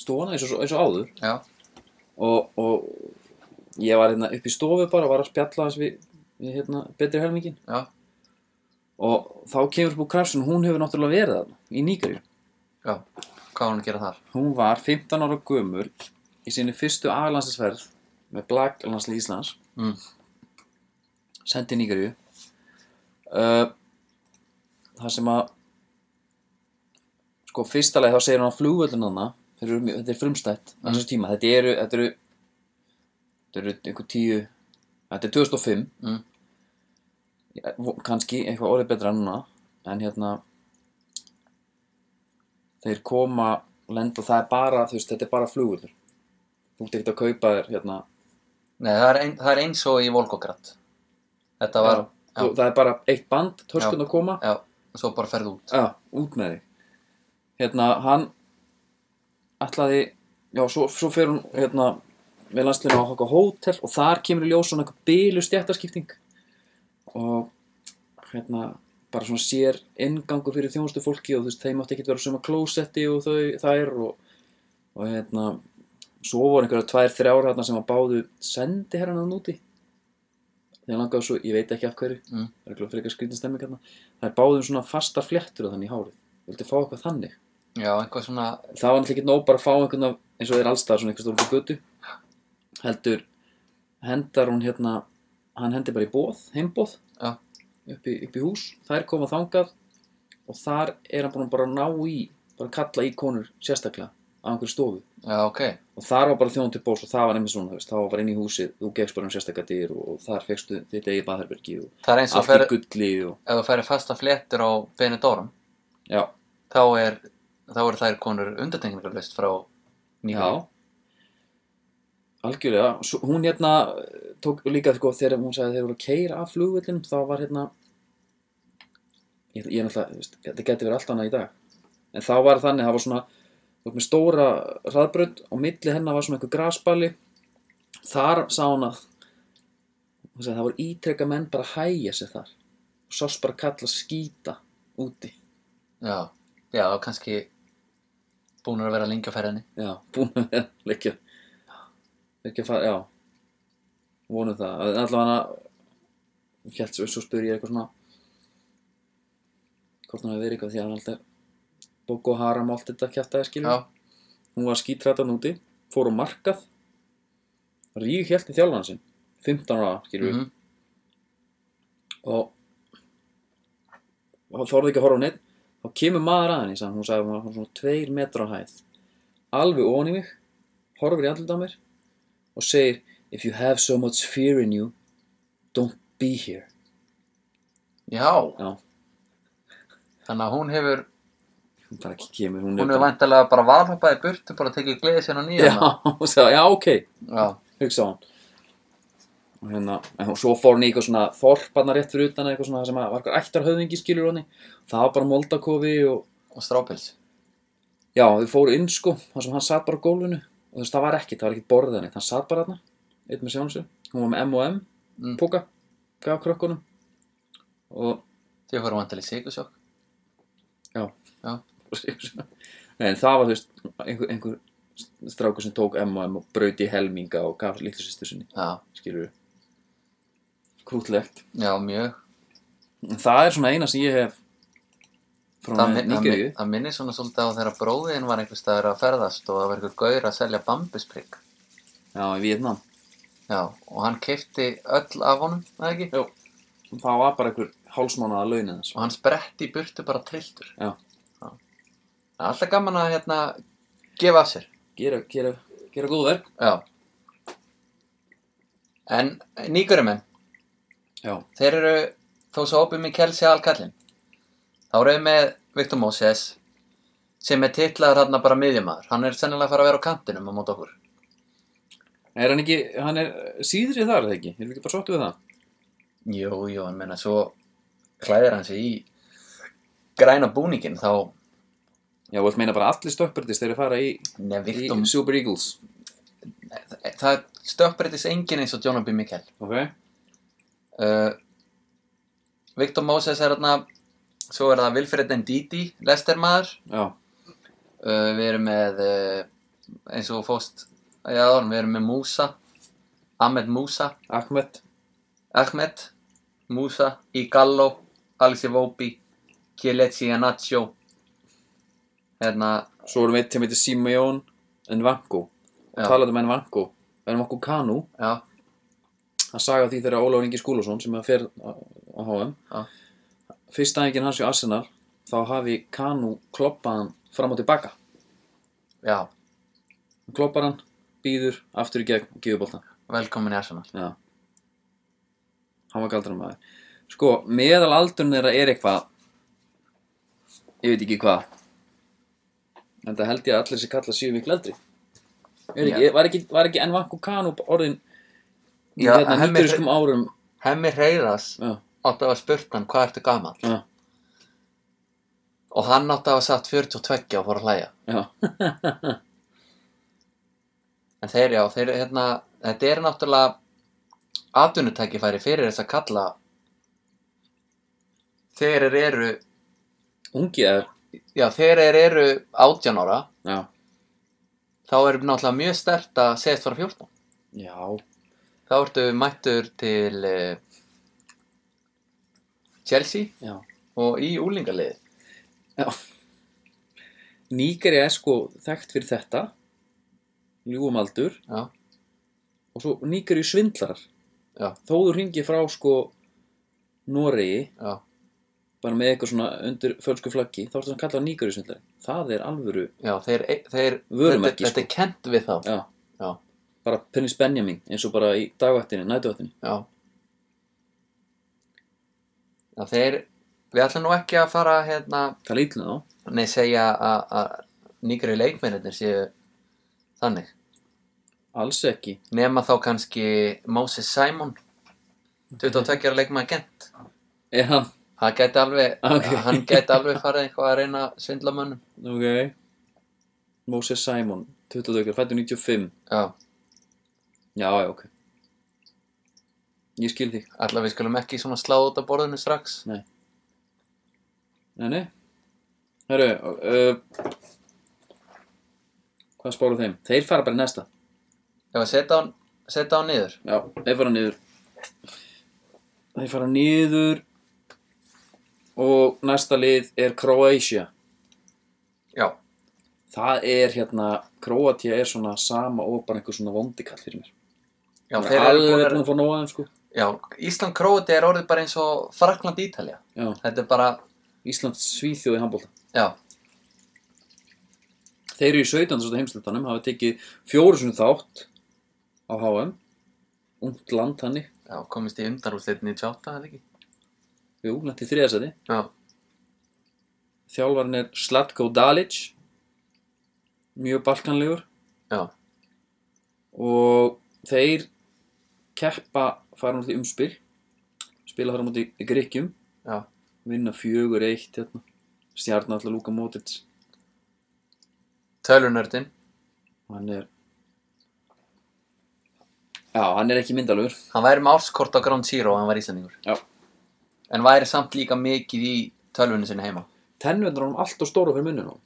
[SPEAKER 2] stofana eins og, eins og áður
[SPEAKER 3] já,
[SPEAKER 2] og, og ég var hérna upp í stofu bara og var að spjalla hans við, við hérna, betri helmingin
[SPEAKER 3] já,
[SPEAKER 2] og þá kemur upp úr krafsun, hún hefur náttúrulega verið þarna í Nígarju.
[SPEAKER 3] já hvað var hann að gera þar
[SPEAKER 2] Hún var 15 ára gömur í sinni fyrstu aðlandsferð með Blaglandsli Íslands
[SPEAKER 3] Mm.
[SPEAKER 2] sendi í Nígarju uh, þar sem að sko fyrsta leið þá segir hún að flugvöldin hana þeir eru mjög- þetta er frumstætt á
[SPEAKER 3] Mm.
[SPEAKER 2] þessu tíma þetta eru, þetta eru þetta eru einhver tíu þetta er 2005
[SPEAKER 3] Mm.
[SPEAKER 2] ja, vo- kannski eitthvað orðið betra en núna en hérna þeir koma lenda það er bara, þú veist, þetta er bara flugvöldur þú ert ekkert að kaupa þér hérna
[SPEAKER 3] Nei, það er, ein, það er eins og í Volgograd þetta var,
[SPEAKER 2] já. þú- það er bara eitt band, törskun að koma
[SPEAKER 3] já, svo bara ferð út
[SPEAKER 2] Já, út með þig Hérna, hann ætlaði, já, svo, svo fer hún hérna, með landslinu á okkar hótel og þar kemur í ljós svona eitthvað bílu stjættaskipting og hérna, bara svona sér inngangur fyrir þjónustu fólki og þú veist, þeim átti ekki að vera svona klósetti og þau, þær og, og hérna, svo voru einhverja tvær, þrjár hérna sem að báðu sendi herran úti þegar langaðu svo, ég veit ekki af hverju
[SPEAKER 3] Mm.
[SPEAKER 2] það er ekki frekar skrýtin stemming hérna það er báðum svona fastar fléttur á þannig í hárið vildi fá eitthvað þannig
[SPEAKER 3] já, eitthvað svona,
[SPEAKER 2] það var náttúrulega ekki nóg bara að fá einhvern af eins og þeir allstaðar svona einhvers stóru götu heldur hendar hún hérna hann hendi bara í bóð, heimbóð
[SPEAKER 3] Já.
[SPEAKER 2] upp í, upp í hús, þær koma þangað og þar er hann búinn að bara ná í bara kalla í konur sérstaklega á einhverju stofu
[SPEAKER 3] já, ok
[SPEAKER 2] og þar var bara þjón til bós og það var nefnir svona, þú veist, það var bara inn í húsið þú gegst bara um sérstaklega dyr og, og þar fegstu þitt eigi baðherbergi og
[SPEAKER 3] það er eins og
[SPEAKER 2] allt
[SPEAKER 3] fer,
[SPEAKER 2] í gulli og,
[SPEAKER 3] ef þú færi fasta fléttur á Benidorm
[SPEAKER 2] já,
[SPEAKER 3] þá er þá eru þær konur undantekningarlaust frá nýjum
[SPEAKER 2] Já Algjörlega, Svo, hún hérna eh, tók líka sko þegar hún sagði að þeir voru að keira af flugvöllin þá var hérna ég, ég er náttúrulega, þú veist, þetta geti verið allt annað í dag en þá var þannig, það var svona þú veist með stóra hraðbraut og milli hennar var svona einhver grasbali þar sá hún að hún sagði, það voru ítrekka menn bara að hæja sig þar og sást bara kalla skýta úti
[SPEAKER 3] já, já, og kannski búnur að vera lengi á ferðinni
[SPEAKER 2] Já, búin að vera leikja leikja að fara, já vonum það, en allavega hélt svo, svo spyr ég eitthvað svona hvort hann hafi verið eitthvað því að hann alltaf Boko Haram allt þetta kjartaði skilur
[SPEAKER 3] já,
[SPEAKER 2] hún var skítrætan úti, fór á markað rík hélt í þjálfan sinn 15 ára skilur
[SPEAKER 3] mhm,
[SPEAKER 2] og og þorði ekki að horfa á neitt þá kemur maður að henni sagði hún, hún sagði að hún var svona tveir metra á hæð alveg ofan í mig horfir í andlut á mér og segir if you have so much fear in you don't be here
[SPEAKER 3] já
[SPEAKER 2] já,
[SPEAKER 3] þannig að hún hefur
[SPEAKER 2] hún bara ekki kemur hún,
[SPEAKER 3] hún hefur vantilega bara valhoppaði burtu bara tekið gleðið sérna nýja
[SPEAKER 2] já, hún sagði, já, ok,
[SPEAKER 3] já,
[SPEAKER 2] hugsa hún og hérna, en hún svo fór hún í eitthvað svona þorparna rétt fyrir utan eitthvað svona sem að var eitthvað ættarhöfðingi skilur honni það var bara moldakofi og
[SPEAKER 3] og strápils
[SPEAKER 2] Já, þau fóru inn sko, þar sem hann satt bara á gólfinu og þú veist, það var ekkert, það var ekkert borðið henni, hann satt bara þarna, einn með sjálfum sér, hún var með M&M,
[SPEAKER 3] Mm.
[SPEAKER 2] póka, gaf krökkunum og,
[SPEAKER 3] þau voru vantilega sigursjók
[SPEAKER 2] já,
[SPEAKER 3] Já.
[SPEAKER 2] Nei, sko, en það var þú veist, einhver, einhver strákur sem tók M&M og braut í helminga og gaf litlu sýstur sinni,
[SPEAKER 3] já,
[SPEAKER 2] skilur við, krútlegt.
[SPEAKER 3] já, mjög
[SPEAKER 2] En það er svona eina sem ég hef frá
[SPEAKER 3] það,
[SPEAKER 2] með
[SPEAKER 3] minn, það,
[SPEAKER 2] Nígeríu.
[SPEAKER 3] minn, það minnir svona svolítið á þegar bróðin var einhvers staðar að ferðast og það var einhver gaur að selja bambusprygg
[SPEAKER 2] Já, í Vietnam.
[SPEAKER 3] já, og hann keipti öll af honum, eða ekki?
[SPEAKER 2] Jú. það var bara einhver hálsmánaða launin hans
[SPEAKER 3] og hann spretti í burtu bara trilltur
[SPEAKER 2] Já.
[SPEAKER 3] Já. Það er alltaf gaman að hérna gefa af sér
[SPEAKER 2] gera, gera, gera góð verk
[SPEAKER 3] Já En nýgurumenn
[SPEAKER 2] já,
[SPEAKER 3] Þeir eru þó svo hópið með Kelsi Alkallin Þá eru við með Victor Moses sem er titlaður hérna bara miðjumæður Hann er sennilega að fara að vera á kantinum á mót okkur
[SPEAKER 2] er hann ekki hann er síðri þar eða ekki, erum við ekki bara sáttu við það
[SPEAKER 3] Jú, jú, en meina svo klæðir hann sig í græna búningin þá
[SPEAKER 2] já, og ég meina bara allir stökkbreytist þeir eru að fara í,
[SPEAKER 3] Nei,
[SPEAKER 2] í
[SPEAKER 3] Victor,
[SPEAKER 2] Super Eagles
[SPEAKER 3] það stökkbreytist enginn eins og Jonah B. Mikkel
[SPEAKER 2] ok,
[SPEAKER 3] uh, Victor Moses er hérna svo er það Wilfred Ndidi lestermaður
[SPEAKER 2] já,
[SPEAKER 3] uh, við erum með uh, eins og þú fóst já, við erum með Musa Ahmed Musa,
[SPEAKER 2] Ahmed
[SPEAKER 3] Ahmed Musa, Igallo Alexi Vopi, Kieletsi Anaccio hérna,
[SPEAKER 2] svo erum við eitt sem heitir Simeon um Nvanko,
[SPEAKER 3] Já.
[SPEAKER 2] talaðu með Nvanko verðum okkur Kanu
[SPEAKER 3] já,
[SPEAKER 2] hann sagði því þegar Ólafur Ingi Skúlason sem að fer á á HM
[SPEAKER 3] Já.
[SPEAKER 2] fyrsta enginn hans í Arsenal þá hafi Kanu kloppaðan fram og tilbaka
[SPEAKER 3] já
[SPEAKER 2] hann kloppar hann, býður, aftur í gegn og gefur boltan
[SPEAKER 3] velkomin í Arsenal
[SPEAKER 2] Já. hann var galdra maður sko, meðal aldurinn þeirra er eitthvað ég veit ekki hvað en það held ég að allir sem kalla séu miklu eldri er ekki,
[SPEAKER 3] Já.
[SPEAKER 2] var ekki, var ekki Envanku Kanu orðin í
[SPEAKER 3] Já,
[SPEAKER 2] hérna
[SPEAKER 3] hann er-
[SPEAKER 2] nýturiskum árum
[SPEAKER 3] Hemmi Reyras
[SPEAKER 2] já,
[SPEAKER 3] átti að hafa spurt hann hvað ertu gaman
[SPEAKER 2] já,
[SPEAKER 3] og hann átti að hafa sagt 42 og fór að hlæja
[SPEAKER 2] já
[SPEAKER 3] En þeir, já, þeir, hérna, þetta er náttúrulega atvinnutækifæri fyrir þess að kalla þegar þeir eru,
[SPEAKER 2] ungi eða
[SPEAKER 3] já, þegar þeir eru 18 ára,
[SPEAKER 2] já,
[SPEAKER 3] þá er náttúrulega mjög stert að segja þetta frá 14.
[SPEAKER 2] já,
[SPEAKER 3] Þá ertu mættur til uh, Chelsea
[SPEAKER 2] já.
[SPEAKER 3] og í úlingarliði.
[SPEAKER 2] Nígeri er sko þekkt fyrir þetta ljúum aldur
[SPEAKER 3] Já,
[SPEAKER 2] og svo Nígeri svindlar
[SPEAKER 3] Já.
[SPEAKER 2] þó þú ringir frá sko Noregi
[SPEAKER 3] já,
[SPEAKER 2] bara með eitthvað svona undir fölsku flaggi þá ertu að kalla Nígeri svindlar það er alvöru,
[SPEAKER 3] já, þeir, þeir, þetta,
[SPEAKER 2] Vörumerki, sko.
[SPEAKER 3] þetta er kent við þá.
[SPEAKER 2] já,
[SPEAKER 3] Já.
[SPEAKER 2] bara Pennis Benjamin eins og bara í dagvættinu, nætuvættinu
[SPEAKER 3] Já. Já, þeir, við ætlum nú ekki að fara, hérna,
[SPEAKER 2] það lítlum þá,
[SPEAKER 3] Nei, segja að- að nýgri leikmennir séu þannig.
[SPEAKER 2] alls ekki
[SPEAKER 3] Nema þá kannski Moses Simon, 22 ára leikmann gent.
[SPEAKER 2] er hann,
[SPEAKER 3] Hann gæti alveg,
[SPEAKER 2] Ok.
[SPEAKER 3] hann gæti alveg farið eitthvað að reyna að svindla mönnum.
[SPEAKER 2] ok Moses Simon, 22, fættu 95
[SPEAKER 3] Já,
[SPEAKER 2] já, já, ok ég skil því
[SPEAKER 3] allavega við skulum ekki svona slá út af borðinu strax.
[SPEAKER 2] Nei, nei. Herru, uh, hvað spáru þeim? Þeir fara bara í næsta.
[SPEAKER 3] Ef að setja hann, setja hann niður.
[SPEAKER 2] Já, þeir fara niður. Þeir fara niður og næsta lið er Croatia.
[SPEAKER 3] Já.
[SPEAKER 2] Það er hérna, Kroatia er svona sama og bara einhver svona vondikall fyrir mér.
[SPEAKER 3] Já,
[SPEAKER 2] Þeir
[SPEAKER 3] þeir
[SPEAKER 2] eru alveg
[SPEAKER 3] eru
[SPEAKER 2] búin
[SPEAKER 3] búinir,
[SPEAKER 2] að fá nóga þeim sko.
[SPEAKER 3] já, Ísland-Króti er orðið bara eins og Frakland-Ítalja.
[SPEAKER 2] Já,
[SPEAKER 3] Þetta er bara,
[SPEAKER 2] Íslands svíþjóði handbólta.
[SPEAKER 3] já,
[SPEAKER 2] Þeir eru í 17. svolítið heimslutanum, hafa tekið fjóru sinni þátt á HM. Ungt land hannig,
[SPEAKER 3] já komist í undanúrslitin í 28, eða ekki?
[SPEAKER 2] jú, lenti þriðasæti.
[SPEAKER 3] Já,
[SPEAKER 2] Þjálfarinn er Slatko Dalic mjög balkanlegur
[SPEAKER 3] já,
[SPEAKER 2] og þeir keppa fara náttúrulega í umspil spila þar á móti Grikkjum
[SPEAKER 3] já,
[SPEAKER 2] vinna fjögur eitt hérna. stjarnar alltaf Luka Modric
[SPEAKER 3] tölunördin.
[SPEAKER 2] hann er já, hann er ekki myndalögur
[SPEAKER 3] Hann væri með árskort á Ground Zero og hann var íslendingur.
[SPEAKER 2] Já.
[SPEAKER 3] En væri samt líka mikið í tölvunni sinni heima.
[SPEAKER 2] tennvöndur hann allt og stóra fyrir munnum og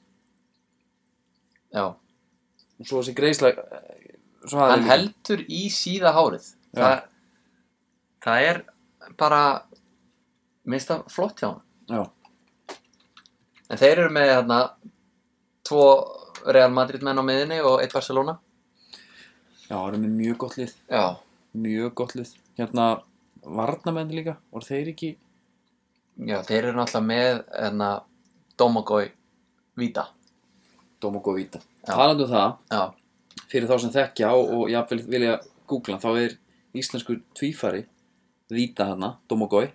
[SPEAKER 3] Já.
[SPEAKER 2] svo þessi greisla eh, svo hafði
[SPEAKER 3] Hann
[SPEAKER 2] líka-
[SPEAKER 3] heldur í síða hárið.
[SPEAKER 2] Já.
[SPEAKER 3] Það, það er bara, minnst það flott hjá hann.
[SPEAKER 2] já,
[SPEAKER 3] En þeir eru með hérna tvo Real Madrid menn á miðinni og eitt Barcelona.
[SPEAKER 2] já, hann er með mjög gott lið
[SPEAKER 3] Já.
[SPEAKER 2] mjög gott lið hérna varnamenn líka voru þeir ekki
[SPEAKER 3] Já, þeir eru náttúrulega með enna Domagoj Vita
[SPEAKER 2] dóm og góð víta talandi um það,
[SPEAKER 3] Já,
[SPEAKER 2] fyrir þá sem þekkja og, og jafnvel vilja googla þá er íslensku tvífari víta hana, dóm og góð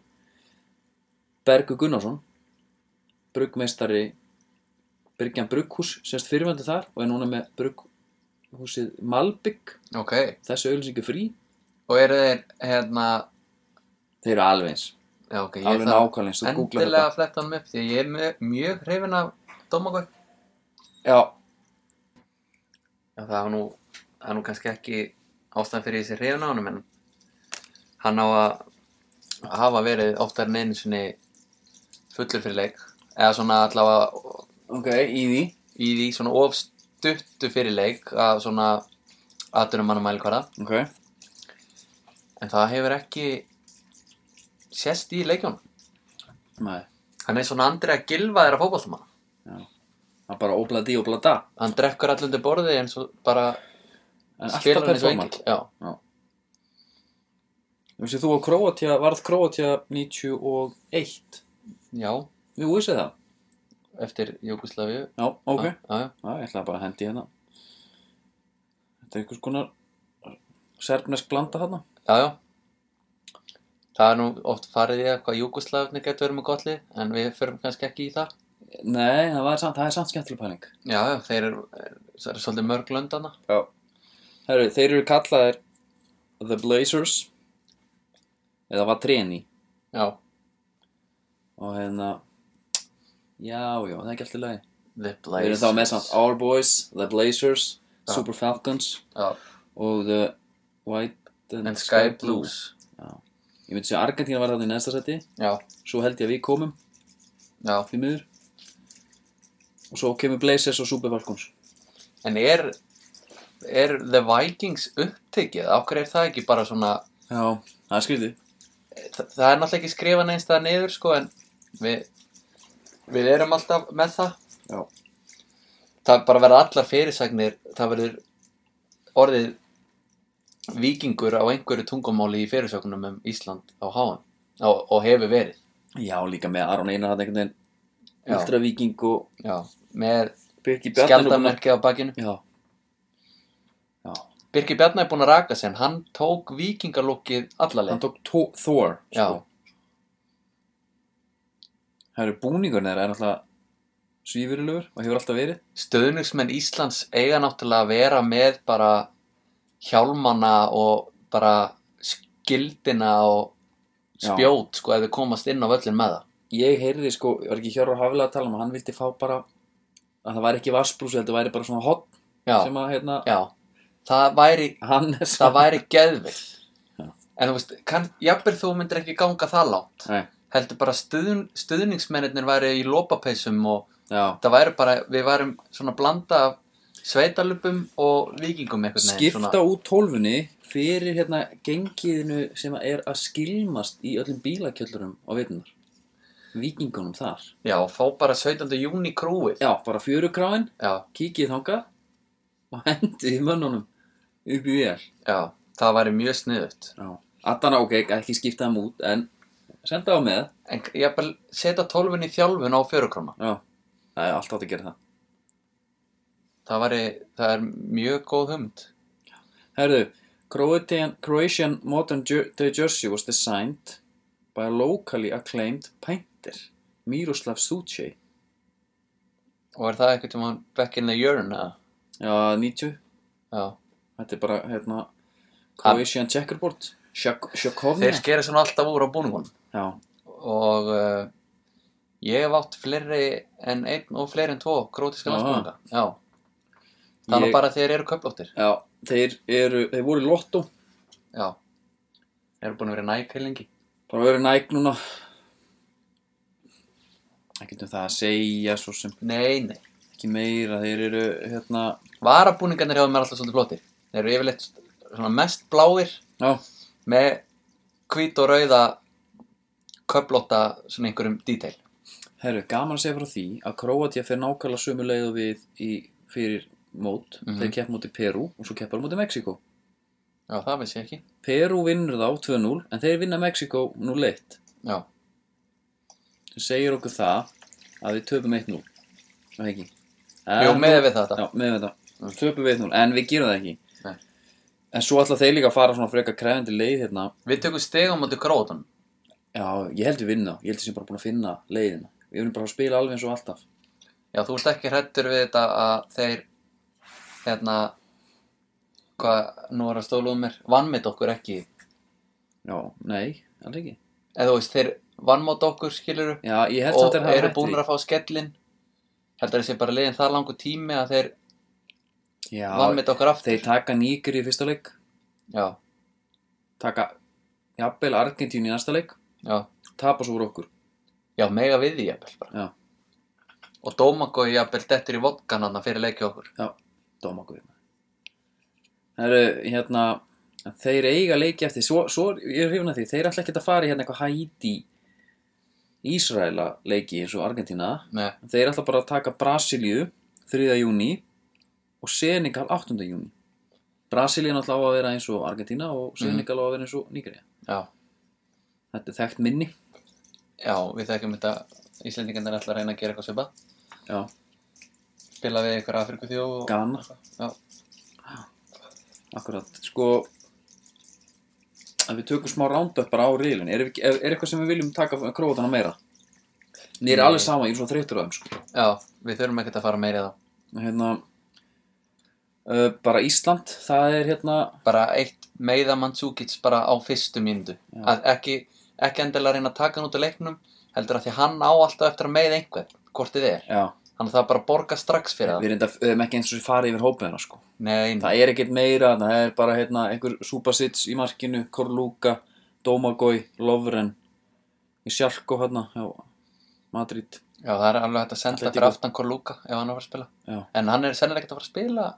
[SPEAKER 2] Bergu Gunnarsson bruggmeistari Byrgjan Brugghús, semst fyrirvendu þar og er núna með brugghúsið Malbygg,
[SPEAKER 3] ok
[SPEAKER 2] þessu auðlýsingu frí
[SPEAKER 3] Og eru þeir hérna
[SPEAKER 2] þeir eru alveg eins,
[SPEAKER 3] Já, ok, ég
[SPEAKER 2] alveg
[SPEAKER 3] þarf
[SPEAKER 2] nákvæmlega eins þú googlar
[SPEAKER 3] endilega
[SPEAKER 2] þetta.
[SPEAKER 3] að fletta hann upp Því að ég er mjög, mjög hrifin af Domagoj
[SPEAKER 2] Já,
[SPEAKER 3] Já, það var nú, það er nú kannski ekki ástæðan fyrir þessi hrifin á honum en hann á að hafa verið oftar en einu sinni fullur fyrir leik eða svona allavega
[SPEAKER 2] ok, í því
[SPEAKER 3] í því svona of stuttu fyrir leik að svona aðdurum manna mælikvara
[SPEAKER 2] ok,
[SPEAKER 3] en það hefur ekki sést í leikjónum
[SPEAKER 2] nei
[SPEAKER 3] hann er svona andri að gilfa þeirra fótboltamann
[SPEAKER 2] það er bara óblað dí, óblað da
[SPEAKER 3] hann drekkur allir undir borði eins og bara
[SPEAKER 2] en alltaf
[SPEAKER 3] spilar hann eins og
[SPEAKER 2] performant
[SPEAKER 3] engil já,
[SPEAKER 2] Þú veist, þú og Króatja, varð Króatja 91.
[SPEAKER 3] já,
[SPEAKER 2] Þú vissið það?
[SPEAKER 3] eftir Júkoslavíu
[SPEAKER 2] Já, ok. Já,
[SPEAKER 3] já, já,
[SPEAKER 2] ég ætlaði bara að hendi hérna. Þetta er einhvers konar serbnesk blanda hérna.
[SPEAKER 3] já, já það er nú oft farið í að hvað Júkoslavni getur verið með gott lið en við förum kannski ekki í það
[SPEAKER 2] Nei, það, var, samt- það er samt skemmtileg pæling.
[SPEAKER 3] já, já, þeir eru, þeir eru svolítið mörg löndana
[SPEAKER 2] Já. Heru, þeir eru kallaðir The Blazers eða var treni
[SPEAKER 3] já,
[SPEAKER 2] og hérna já, já, það er ekki alltaf lagi. Við
[SPEAKER 3] the
[SPEAKER 2] erum
[SPEAKER 3] Blazers
[SPEAKER 2] þá með samt Our Boys, The Blazers,
[SPEAKER 3] Já.
[SPEAKER 2] Super Falcons
[SPEAKER 3] já,
[SPEAKER 2] og The White and,
[SPEAKER 3] and Sky Blues
[SPEAKER 2] Ég myndi segja að Argentína var þarna í næsta seti
[SPEAKER 3] já,
[SPEAKER 2] Svo held ég að við komum
[SPEAKER 3] já
[SPEAKER 2] því miður Og svo kemur Blazers og Super Falcons
[SPEAKER 3] En er, er The Vikings upptekið? Ákveð er það ekki bara svona,
[SPEAKER 2] Já, það er skrítið
[SPEAKER 3] það, það er náttúrulega ekki skrifað neins það niður sko en við, við erum alltaf með það.
[SPEAKER 2] Já,
[SPEAKER 3] Það bara verða allar fyrirsagnir, það verður orðið vikingur á einhverju tungumáli í fyrirsögnum um Ísland á háan og, og hefur verið.
[SPEAKER 2] líka með Aron Einar hann einhvern veginn
[SPEAKER 3] Já.
[SPEAKER 2] Ultra Viking og
[SPEAKER 3] Já, með
[SPEAKER 2] Birki Bjarnalúna
[SPEAKER 3] skjaldamerkið á bakinu.
[SPEAKER 2] Já Já,
[SPEAKER 3] Birki Bjarnar er búin að raka sig en hann tók vikingalúkið
[SPEAKER 2] hann
[SPEAKER 3] allaleg.
[SPEAKER 2] tók Tó- Thor
[SPEAKER 3] Já,
[SPEAKER 2] sko. Það eru búningurinn þeirra er náttúrulega svífurilegur og hefur alltaf verið
[SPEAKER 3] stöðningsmenn Íslands eiga náttúrulega að vera með bara hjálmana og bara skildina og
[SPEAKER 2] Já.
[SPEAKER 3] spjót sko ef þau komast inn á völlin með það
[SPEAKER 2] Ég heyrði sko, var ekki Hjörvar Hafilega að tala um að hann vildi fá bara að það væri ekki vassbrúsi, þetta væri bara svona hot
[SPEAKER 3] Já,
[SPEAKER 2] sem að hérna
[SPEAKER 3] já Það væri,
[SPEAKER 2] hann er
[SPEAKER 3] það væri geðvikt
[SPEAKER 2] Já.
[SPEAKER 3] En þú veist, kann, jafnvel þú myndir ekki ganga það langt
[SPEAKER 2] Nei,
[SPEAKER 3] Heldur bara stuðun, stuðningsmennirnir væri í lopapeysum og
[SPEAKER 2] já
[SPEAKER 3] það væri bara, við værum svona blanda af sveitalupum og vikingum einhvern veginn
[SPEAKER 2] skipta út tólfunni fyrir hérna gengiðinu sem að er að skilmast í öllum bílakjöldurum á veitunar vikingunum þar
[SPEAKER 3] Já, fá bara 17. júni krúið
[SPEAKER 2] já, bara fjörukráin,
[SPEAKER 3] já.
[SPEAKER 2] kikið þangað og hendið mönnunum upp í vél
[SPEAKER 3] Já, það væri mjög sniðut.
[SPEAKER 2] já. Adana, ok, ekki skipta þeim út en senda á með
[SPEAKER 3] En ég bara setja tólfun í þjálfun á fjörukrona.
[SPEAKER 2] já, það er alltaf að gera það
[SPEAKER 3] Það væri, það er mjög góð hugmynd.
[SPEAKER 2] Herðu, Croatian, Croatian Modern Jer- Day Jersey was designed by a locally acclaimed painter, Miroslav Suce.
[SPEAKER 3] Og er það eitthvað tíma back in the urn eða?
[SPEAKER 2] Já, 90.
[SPEAKER 3] Já.
[SPEAKER 2] Þetta er bara, hérna, Croatian checkerboard. Sjak- Sjakovnja.
[SPEAKER 3] Þeir skera svona alltaf úr á búningunum.
[SPEAKER 2] Já,
[SPEAKER 3] Og uh, ég hef átt fleiri en einn og fleiri en tvo grótiska
[SPEAKER 2] Já.
[SPEAKER 3] landsbúninga. Já. Það er nú
[SPEAKER 2] Ég-
[SPEAKER 3] bara þeir eru köplóttir.
[SPEAKER 2] já, þeir eru, þeir voru í lotto,
[SPEAKER 3] Já. Þeir eru búin að vera næk heilengi.
[SPEAKER 2] bara verið næg núna. Ekkert um það að segja, svo sem
[SPEAKER 3] Nei, nei.
[SPEAKER 2] ekki meira, þeir eru, hérna,
[SPEAKER 3] Varabúningarnir hefur mér alltaf svolítið flottir. Þeir eru yfirleitt svona mest bláir
[SPEAKER 2] já,
[SPEAKER 3] með hvít og rauða köflótta svona einhverjum detail
[SPEAKER 2] Herru, gaman að segja frá því að Króatía fer nákvæmlega sömu leið og við í, fyrir mót.
[SPEAKER 3] Mhm.
[SPEAKER 2] Þeir kepp múti Perú og svo keppar múti Mexíkó.
[SPEAKER 3] Já, það vissi ég ekki.
[SPEAKER 2] Perú vinnur þá 2-0 en þeir vinna Mexiko 0-1
[SPEAKER 3] Já,
[SPEAKER 2] sem segir okkur það að við töpum 1-0 Það er ekki
[SPEAKER 3] Jú, með við þetta.
[SPEAKER 2] Já, með við þetta Töpum við 1-0 en við gerum það ekki
[SPEAKER 3] Nei.
[SPEAKER 2] En svo ætla þeir líka að fara svona frekar krefandi leið hérna
[SPEAKER 3] Við tökum stegum á móti gróðan.
[SPEAKER 2] Já, ég held við vinnum þá Ég held við sem bara búin að finna leiðina Við erum bara að spila alveg eins og alltaf
[SPEAKER 3] Já, þú ert ekki hrættur við þetta að þeir, hérna, hvað, nú er að stóla um mér, vannmynd okkur ekki.
[SPEAKER 2] Já, nei, alveg ekki
[SPEAKER 3] Eða þú veist, þeir vannmót okkur, skilur upp,
[SPEAKER 2] Já, ég held
[SPEAKER 3] og
[SPEAKER 2] samt að
[SPEAKER 3] eru búnir að fá skellin. Heldur þessi bara liðin það langur tími að þeir
[SPEAKER 2] Já,
[SPEAKER 3] vannmynd okkur aftur.
[SPEAKER 2] þeir taka nýgir í fyrsta leik
[SPEAKER 3] Já,
[SPEAKER 2] Taka, jafnvel, Argentínu í næsta leik
[SPEAKER 3] já,
[SPEAKER 2] Tapa svo voru okkur
[SPEAKER 3] já, mega við því jafnvel bara.
[SPEAKER 2] Já,
[SPEAKER 3] Og Dómagói jafnvel dettur í vodkan hann fyrir leikja okkur.
[SPEAKER 2] Já, dóma guður Það eru hérna Þeir eiga leiki eftir Svo, svo ég er hrifin að því, þeir ætla ekki að fara í hérna eitthvað Haiti Ísraela leiki eins og Argentína
[SPEAKER 3] Nei,
[SPEAKER 2] Þeir ætla bara að taka Brasilíu 3. júni og Senegal 8. júni Brasilíu náttúrulega á að vera eins og Argentína og Senegal á að vera eins og Nígeria
[SPEAKER 3] já,
[SPEAKER 2] Þetta er þekkt minni
[SPEAKER 3] já, við þekkjum þetta, Íslendingarnir ætla að reyna að gera eitthvað svipað.
[SPEAKER 2] Já,
[SPEAKER 3] spila við ykkur Afriku þjóð og...
[SPEAKER 2] Ghana,
[SPEAKER 3] Já,
[SPEAKER 2] akkurat Sko að við tökum smá roundup bara á riðlun er, er, er eitthvað sem við viljum taka króatana meira? Mér er alveg sama, ég er svo þreyttur á þeim sko
[SPEAKER 3] já, við þurfum ekkert að fara meira í það
[SPEAKER 2] hérna uh, bara Ísland, það er hérna
[SPEAKER 3] bara eitt meiða Manzúkits bara á fyrstu mínútu að ekki, ekki endilega reyna að taka hann út af leiknum heldur að því hann á alltaf eftir að meiða einhvern hvort þið er,
[SPEAKER 2] já,
[SPEAKER 3] þannig að það bara borga strax fyrir það
[SPEAKER 2] við reynda um ekki eins og farið yfir hópið hérna sko,
[SPEAKER 3] Nei,
[SPEAKER 2] það er ekkert meira það er bara hérna einhver Subasic í markinu Korluka, Domagoj Lovren, í Sjarko hérna, já, Madrid
[SPEAKER 3] já, það er alveg hægt að senda
[SPEAKER 2] Atletico.
[SPEAKER 3] fyrir aftan Korlúka ef hann er að fara að spila
[SPEAKER 2] já,
[SPEAKER 3] en hann er sennilega ekkert að fara að spila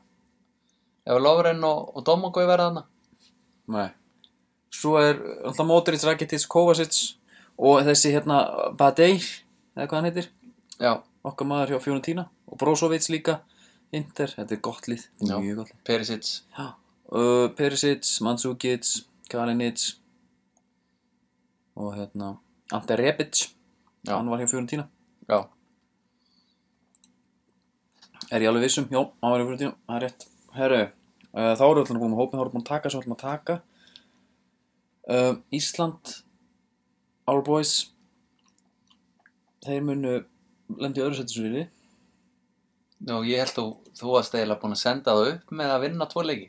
[SPEAKER 3] ef Lóren og, og Dómangói verða hann
[SPEAKER 2] nei svo er alltaf Modric, Rakitic, Kovacic og þessi hérna Badei, eða hvað hann heitir
[SPEAKER 3] Já,
[SPEAKER 2] okkar maður hjá Fiorentina og Brozovic líka, Inter, þetta er gott lið þetta
[SPEAKER 3] Já.
[SPEAKER 2] er mjög gott lið
[SPEAKER 3] Perisic
[SPEAKER 2] Já, uh, Perisic, Mandzukic, Kalinic og hérna Ante Rebic,
[SPEAKER 3] Já.
[SPEAKER 2] hann var hjá Fiorentina
[SPEAKER 3] Já,
[SPEAKER 2] Er ég alveg vissum? Jó, hann var hjá Fiorentina, það er rétt Herru, uh, þá erum við alltaf búin með hópin, þá erum við búin að taka svo ætlum við að taka uh, Ísland, Our Boys Þeir munu lendi öðru setjum svo við
[SPEAKER 3] Nú, ég held þú, þú varst eiginlega búin að senda það upp með að vinna tvo leiki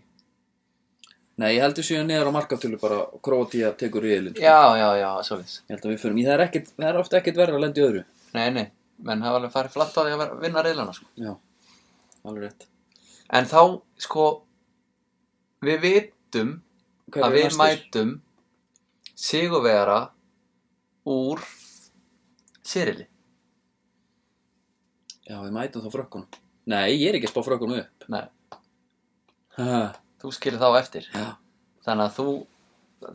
[SPEAKER 2] Nei, ég heldur síðan niður á markaftölu bara Kroatia tekur riðilinn sko.
[SPEAKER 3] Já, já, já, svolítið
[SPEAKER 2] Ég held að við förum í, það er, ekkert, það er ofta ekkert verra að lendi öðru
[SPEAKER 3] Nei, nei, menn hafa alveg farið flatt á því að vera- vinna reyðlana sko.
[SPEAKER 2] Já, alveg rétt
[SPEAKER 3] En þá, sko Við vitum að við mætum Sigurvegara úr Sirili
[SPEAKER 2] Já, við mætum þá frökkunum Nei, ég er ekki að spá frökkunum upp
[SPEAKER 3] Nei,
[SPEAKER 2] ha,
[SPEAKER 3] þú skilir þá eftir
[SPEAKER 2] Já,
[SPEAKER 3] Þannig að þú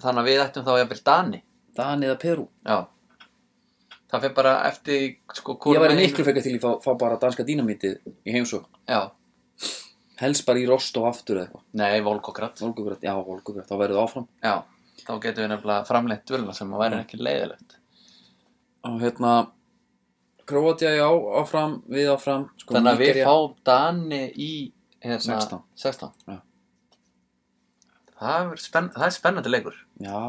[SPEAKER 3] Þannig að við ættum þá jafnvel Dani
[SPEAKER 2] Dani eða Perú
[SPEAKER 3] Já Það fyrir bara eftir því, sko
[SPEAKER 2] Ég
[SPEAKER 3] hvorum
[SPEAKER 2] væri
[SPEAKER 3] megin-
[SPEAKER 2] miklu fekka til í að fá, fá bara danska dínamítið í heimsók
[SPEAKER 3] Já,
[SPEAKER 2] Helst bara í rost og aftur eða eitthvað
[SPEAKER 3] nei, Volkokrat
[SPEAKER 2] Volgugrætt, já, Volgugrætt, þá verður það áfram
[SPEAKER 3] Já, þá getum við nefnilega framleitt völuna sem að væri ekki leiðilegt
[SPEAKER 2] Og hérna Króatja, já, áfram, við áfram sko,
[SPEAKER 3] Þannig að við
[SPEAKER 2] Nígería-
[SPEAKER 3] fáum Dani í hérna,
[SPEAKER 2] 16.
[SPEAKER 3] 16.
[SPEAKER 2] Já.
[SPEAKER 3] Það, er spenn, það er spennandi leikur.
[SPEAKER 2] Já,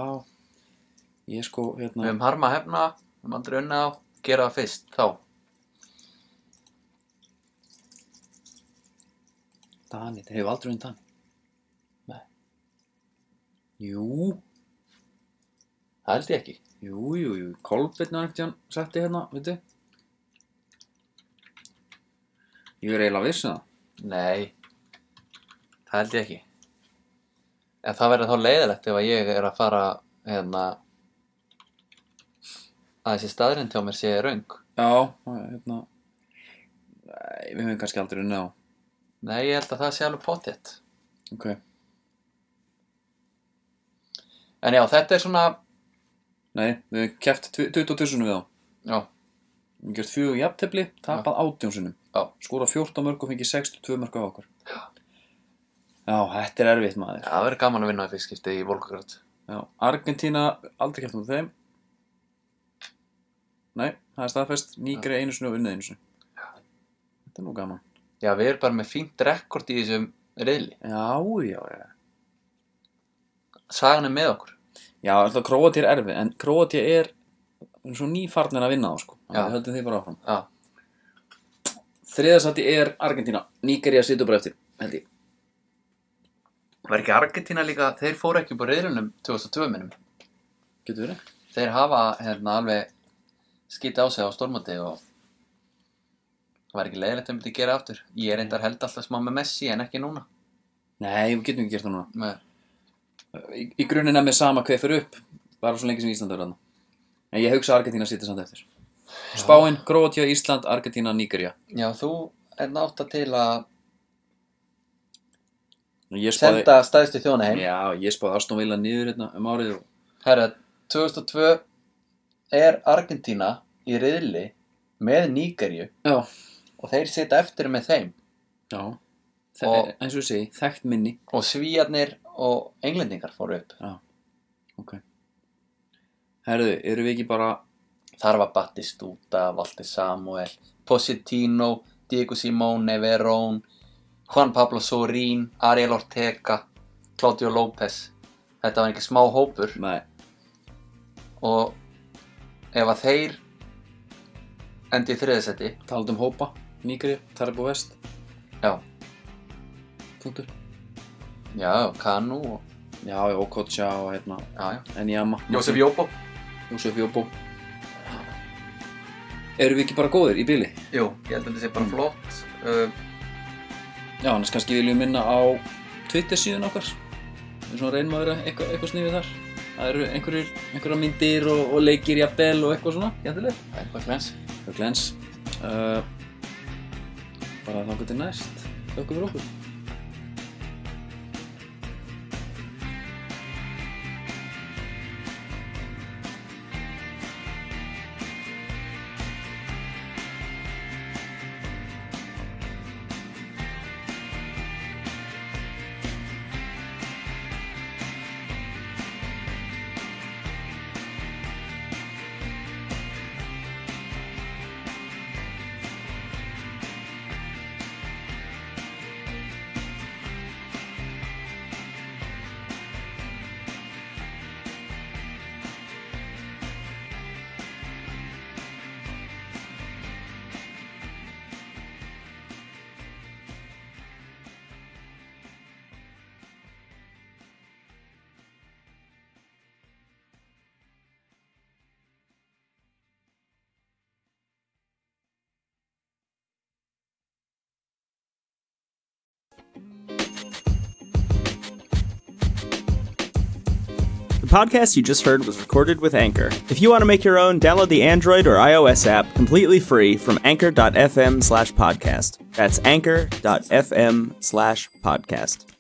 [SPEAKER 2] ég sko,
[SPEAKER 3] Við
[SPEAKER 2] hérna
[SPEAKER 3] höfum harma að hefna, við höfum andri unna á, gera það fyrst, þá.
[SPEAKER 2] Dani, þeir hefur aldrei unni Dani Nei Jú,
[SPEAKER 3] Það held ég ekki.
[SPEAKER 2] jú, jú, jú Kolbirna eftir hann setti hérna, veitu Ég er eiginlega viss um það
[SPEAKER 3] Nei, það held ég ekki. En það verður þá leiðilegt ef að ég er að fara, hérna, að þessi staðrind hjá mér sé raung.
[SPEAKER 2] Já, hérna Nei, við höfum kannski aldrei unnið á
[SPEAKER 3] Nei, ég held að það sé alveg potjett.
[SPEAKER 2] Ok,
[SPEAKER 3] En já, þetta er svona,
[SPEAKER 2] nei, við höfum keft 22 sunum við á
[SPEAKER 3] já,
[SPEAKER 2] Við höfum gert fjögur jafntefli, tapað 18 sunum
[SPEAKER 3] Já.
[SPEAKER 2] Skora 14 mörg og fengið 62 mörg á okkur Já, þetta er erfitt maður.
[SPEAKER 3] það verður gaman að vinna í fyrst skipti í Volgograd
[SPEAKER 2] Já, Argentína, aldrei kæftum við þeim. Nei, það er staðfest. Nýgri einu sinni og unnið einu sinni. Þetta er nú gaman.
[SPEAKER 3] já, við erum bara með fínt rekord í þessum reyðli,
[SPEAKER 2] Já, já, já.
[SPEAKER 3] sagan er með okkur
[SPEAKER 2] Já, alltaf Króatía er erfið, en Króatía er er svo nýfarnir að vinna þá, sko.
[SPEAKER 3] Já.
[SPEAKER 2] Já. Við höldum því bara áfram.
[SPEAKER 3] já,
[SPEAKER 2] Þriðasæti er Argentína. Nígeria situr bara eftir, held ég.
[SPEAKER 3] var ekki Argentina líka, þeir fóru ekki upp úr reyðlunum 2002 minnum,
[SPEAKER 2] Getur verið?
[SPEAKER 3] þeir hafa hérna alveg skýti á sig á stormandi og það var ekki leiðilegt um þetta að gera aftur ég er reyndar held alltaf smá með Messi en ekki núna
[SPEAKER 2] Nei, við getum ekki gert það núna.
[SPEAKER 3] með,
[SPEAKER 2] Í, í grunninn er mér sama hver fyrir upp, bara svo lengi sem Ísland er þarna. En ég hugsa að Argentína situr samt eftir. Spáin, Króatía, Ísland, Argentína, Nígeria.
[SPEAKER 3] já, þú er náttúrulega til að
[SPEAKER 2] Ég spáði...
[SPEAKER 3] senda stæðstu þjóna heim
[SPEAKER 2] Já, ég spáði Aston Villa niður hérna um árið og...
[SPEAKER 3] Herra, 2002 er Argentína í riðli með Nígerju
[SPEAKER 2] Já.
[SPEAKER 3] og þeir sita eftir með þeim
[SPEAKER 2] Já.
[SPEAKER 3] Og-
[SPEAKER 2] Og... Eins og ég segi, þekkt minni.
[SPEAKER 3] og svíjarnir og englendingar fóru upp.
[SPEAKER 2] Ok. Herðu, eru við ekki bara...
[SPEAKER 3] Þar var Battistuta, Valdi Samuel, Positino, Diego Simone, Verón, Juan Pablo Sorín, Ariel Ortega, Claudio López. Þetta var ekki smá hópur
[SPEAKER 2] Nei.
[SPEAKER 3] og ef að þeir endi í þriðasetti,
[SPEAKER 2] Talandi um hópa, Nígri, Tarbo Vest,
[SPEAKER 3] já,
[SPEAKER 2] punktur.
[SPEAKER 3] já, Kanu og,
[SPEAKER 2] Já, já, Okocha og hérna,
[SPEAKER 3] já, já.
[SPEAKER 2] Enyama.
[SPEAKER 3] Jóbo.
[SPEAKER 2] Jósef Jóbo. Erum við ekki bara góðir í bíli?
[SPEAKER 3] Jú, ég held að þetta sé bara flott uh,
[SPEAKER 2] Já, annars kannski viljum minna á Twitter síðun okkar. Við svona reynum að vera eitthvað, eitthvað sniðið þar. Það eru einhverjir, einhverjar myndir og, og leikir jafnvel og eitthvað svona, jæfnileg.
[SPEAKER 3] Eitthvað glens
[SPEAKER 2] Það er glens. Uh, bara þangað til næst. Þakku fyrir okkur.
[SPEAKER 4] The podcast you just heard was recorded with Anchor. If you want to make your own, download the Android or iOS app completely free from anchor.fm slash podcast. That's anchor.fm slash podcast.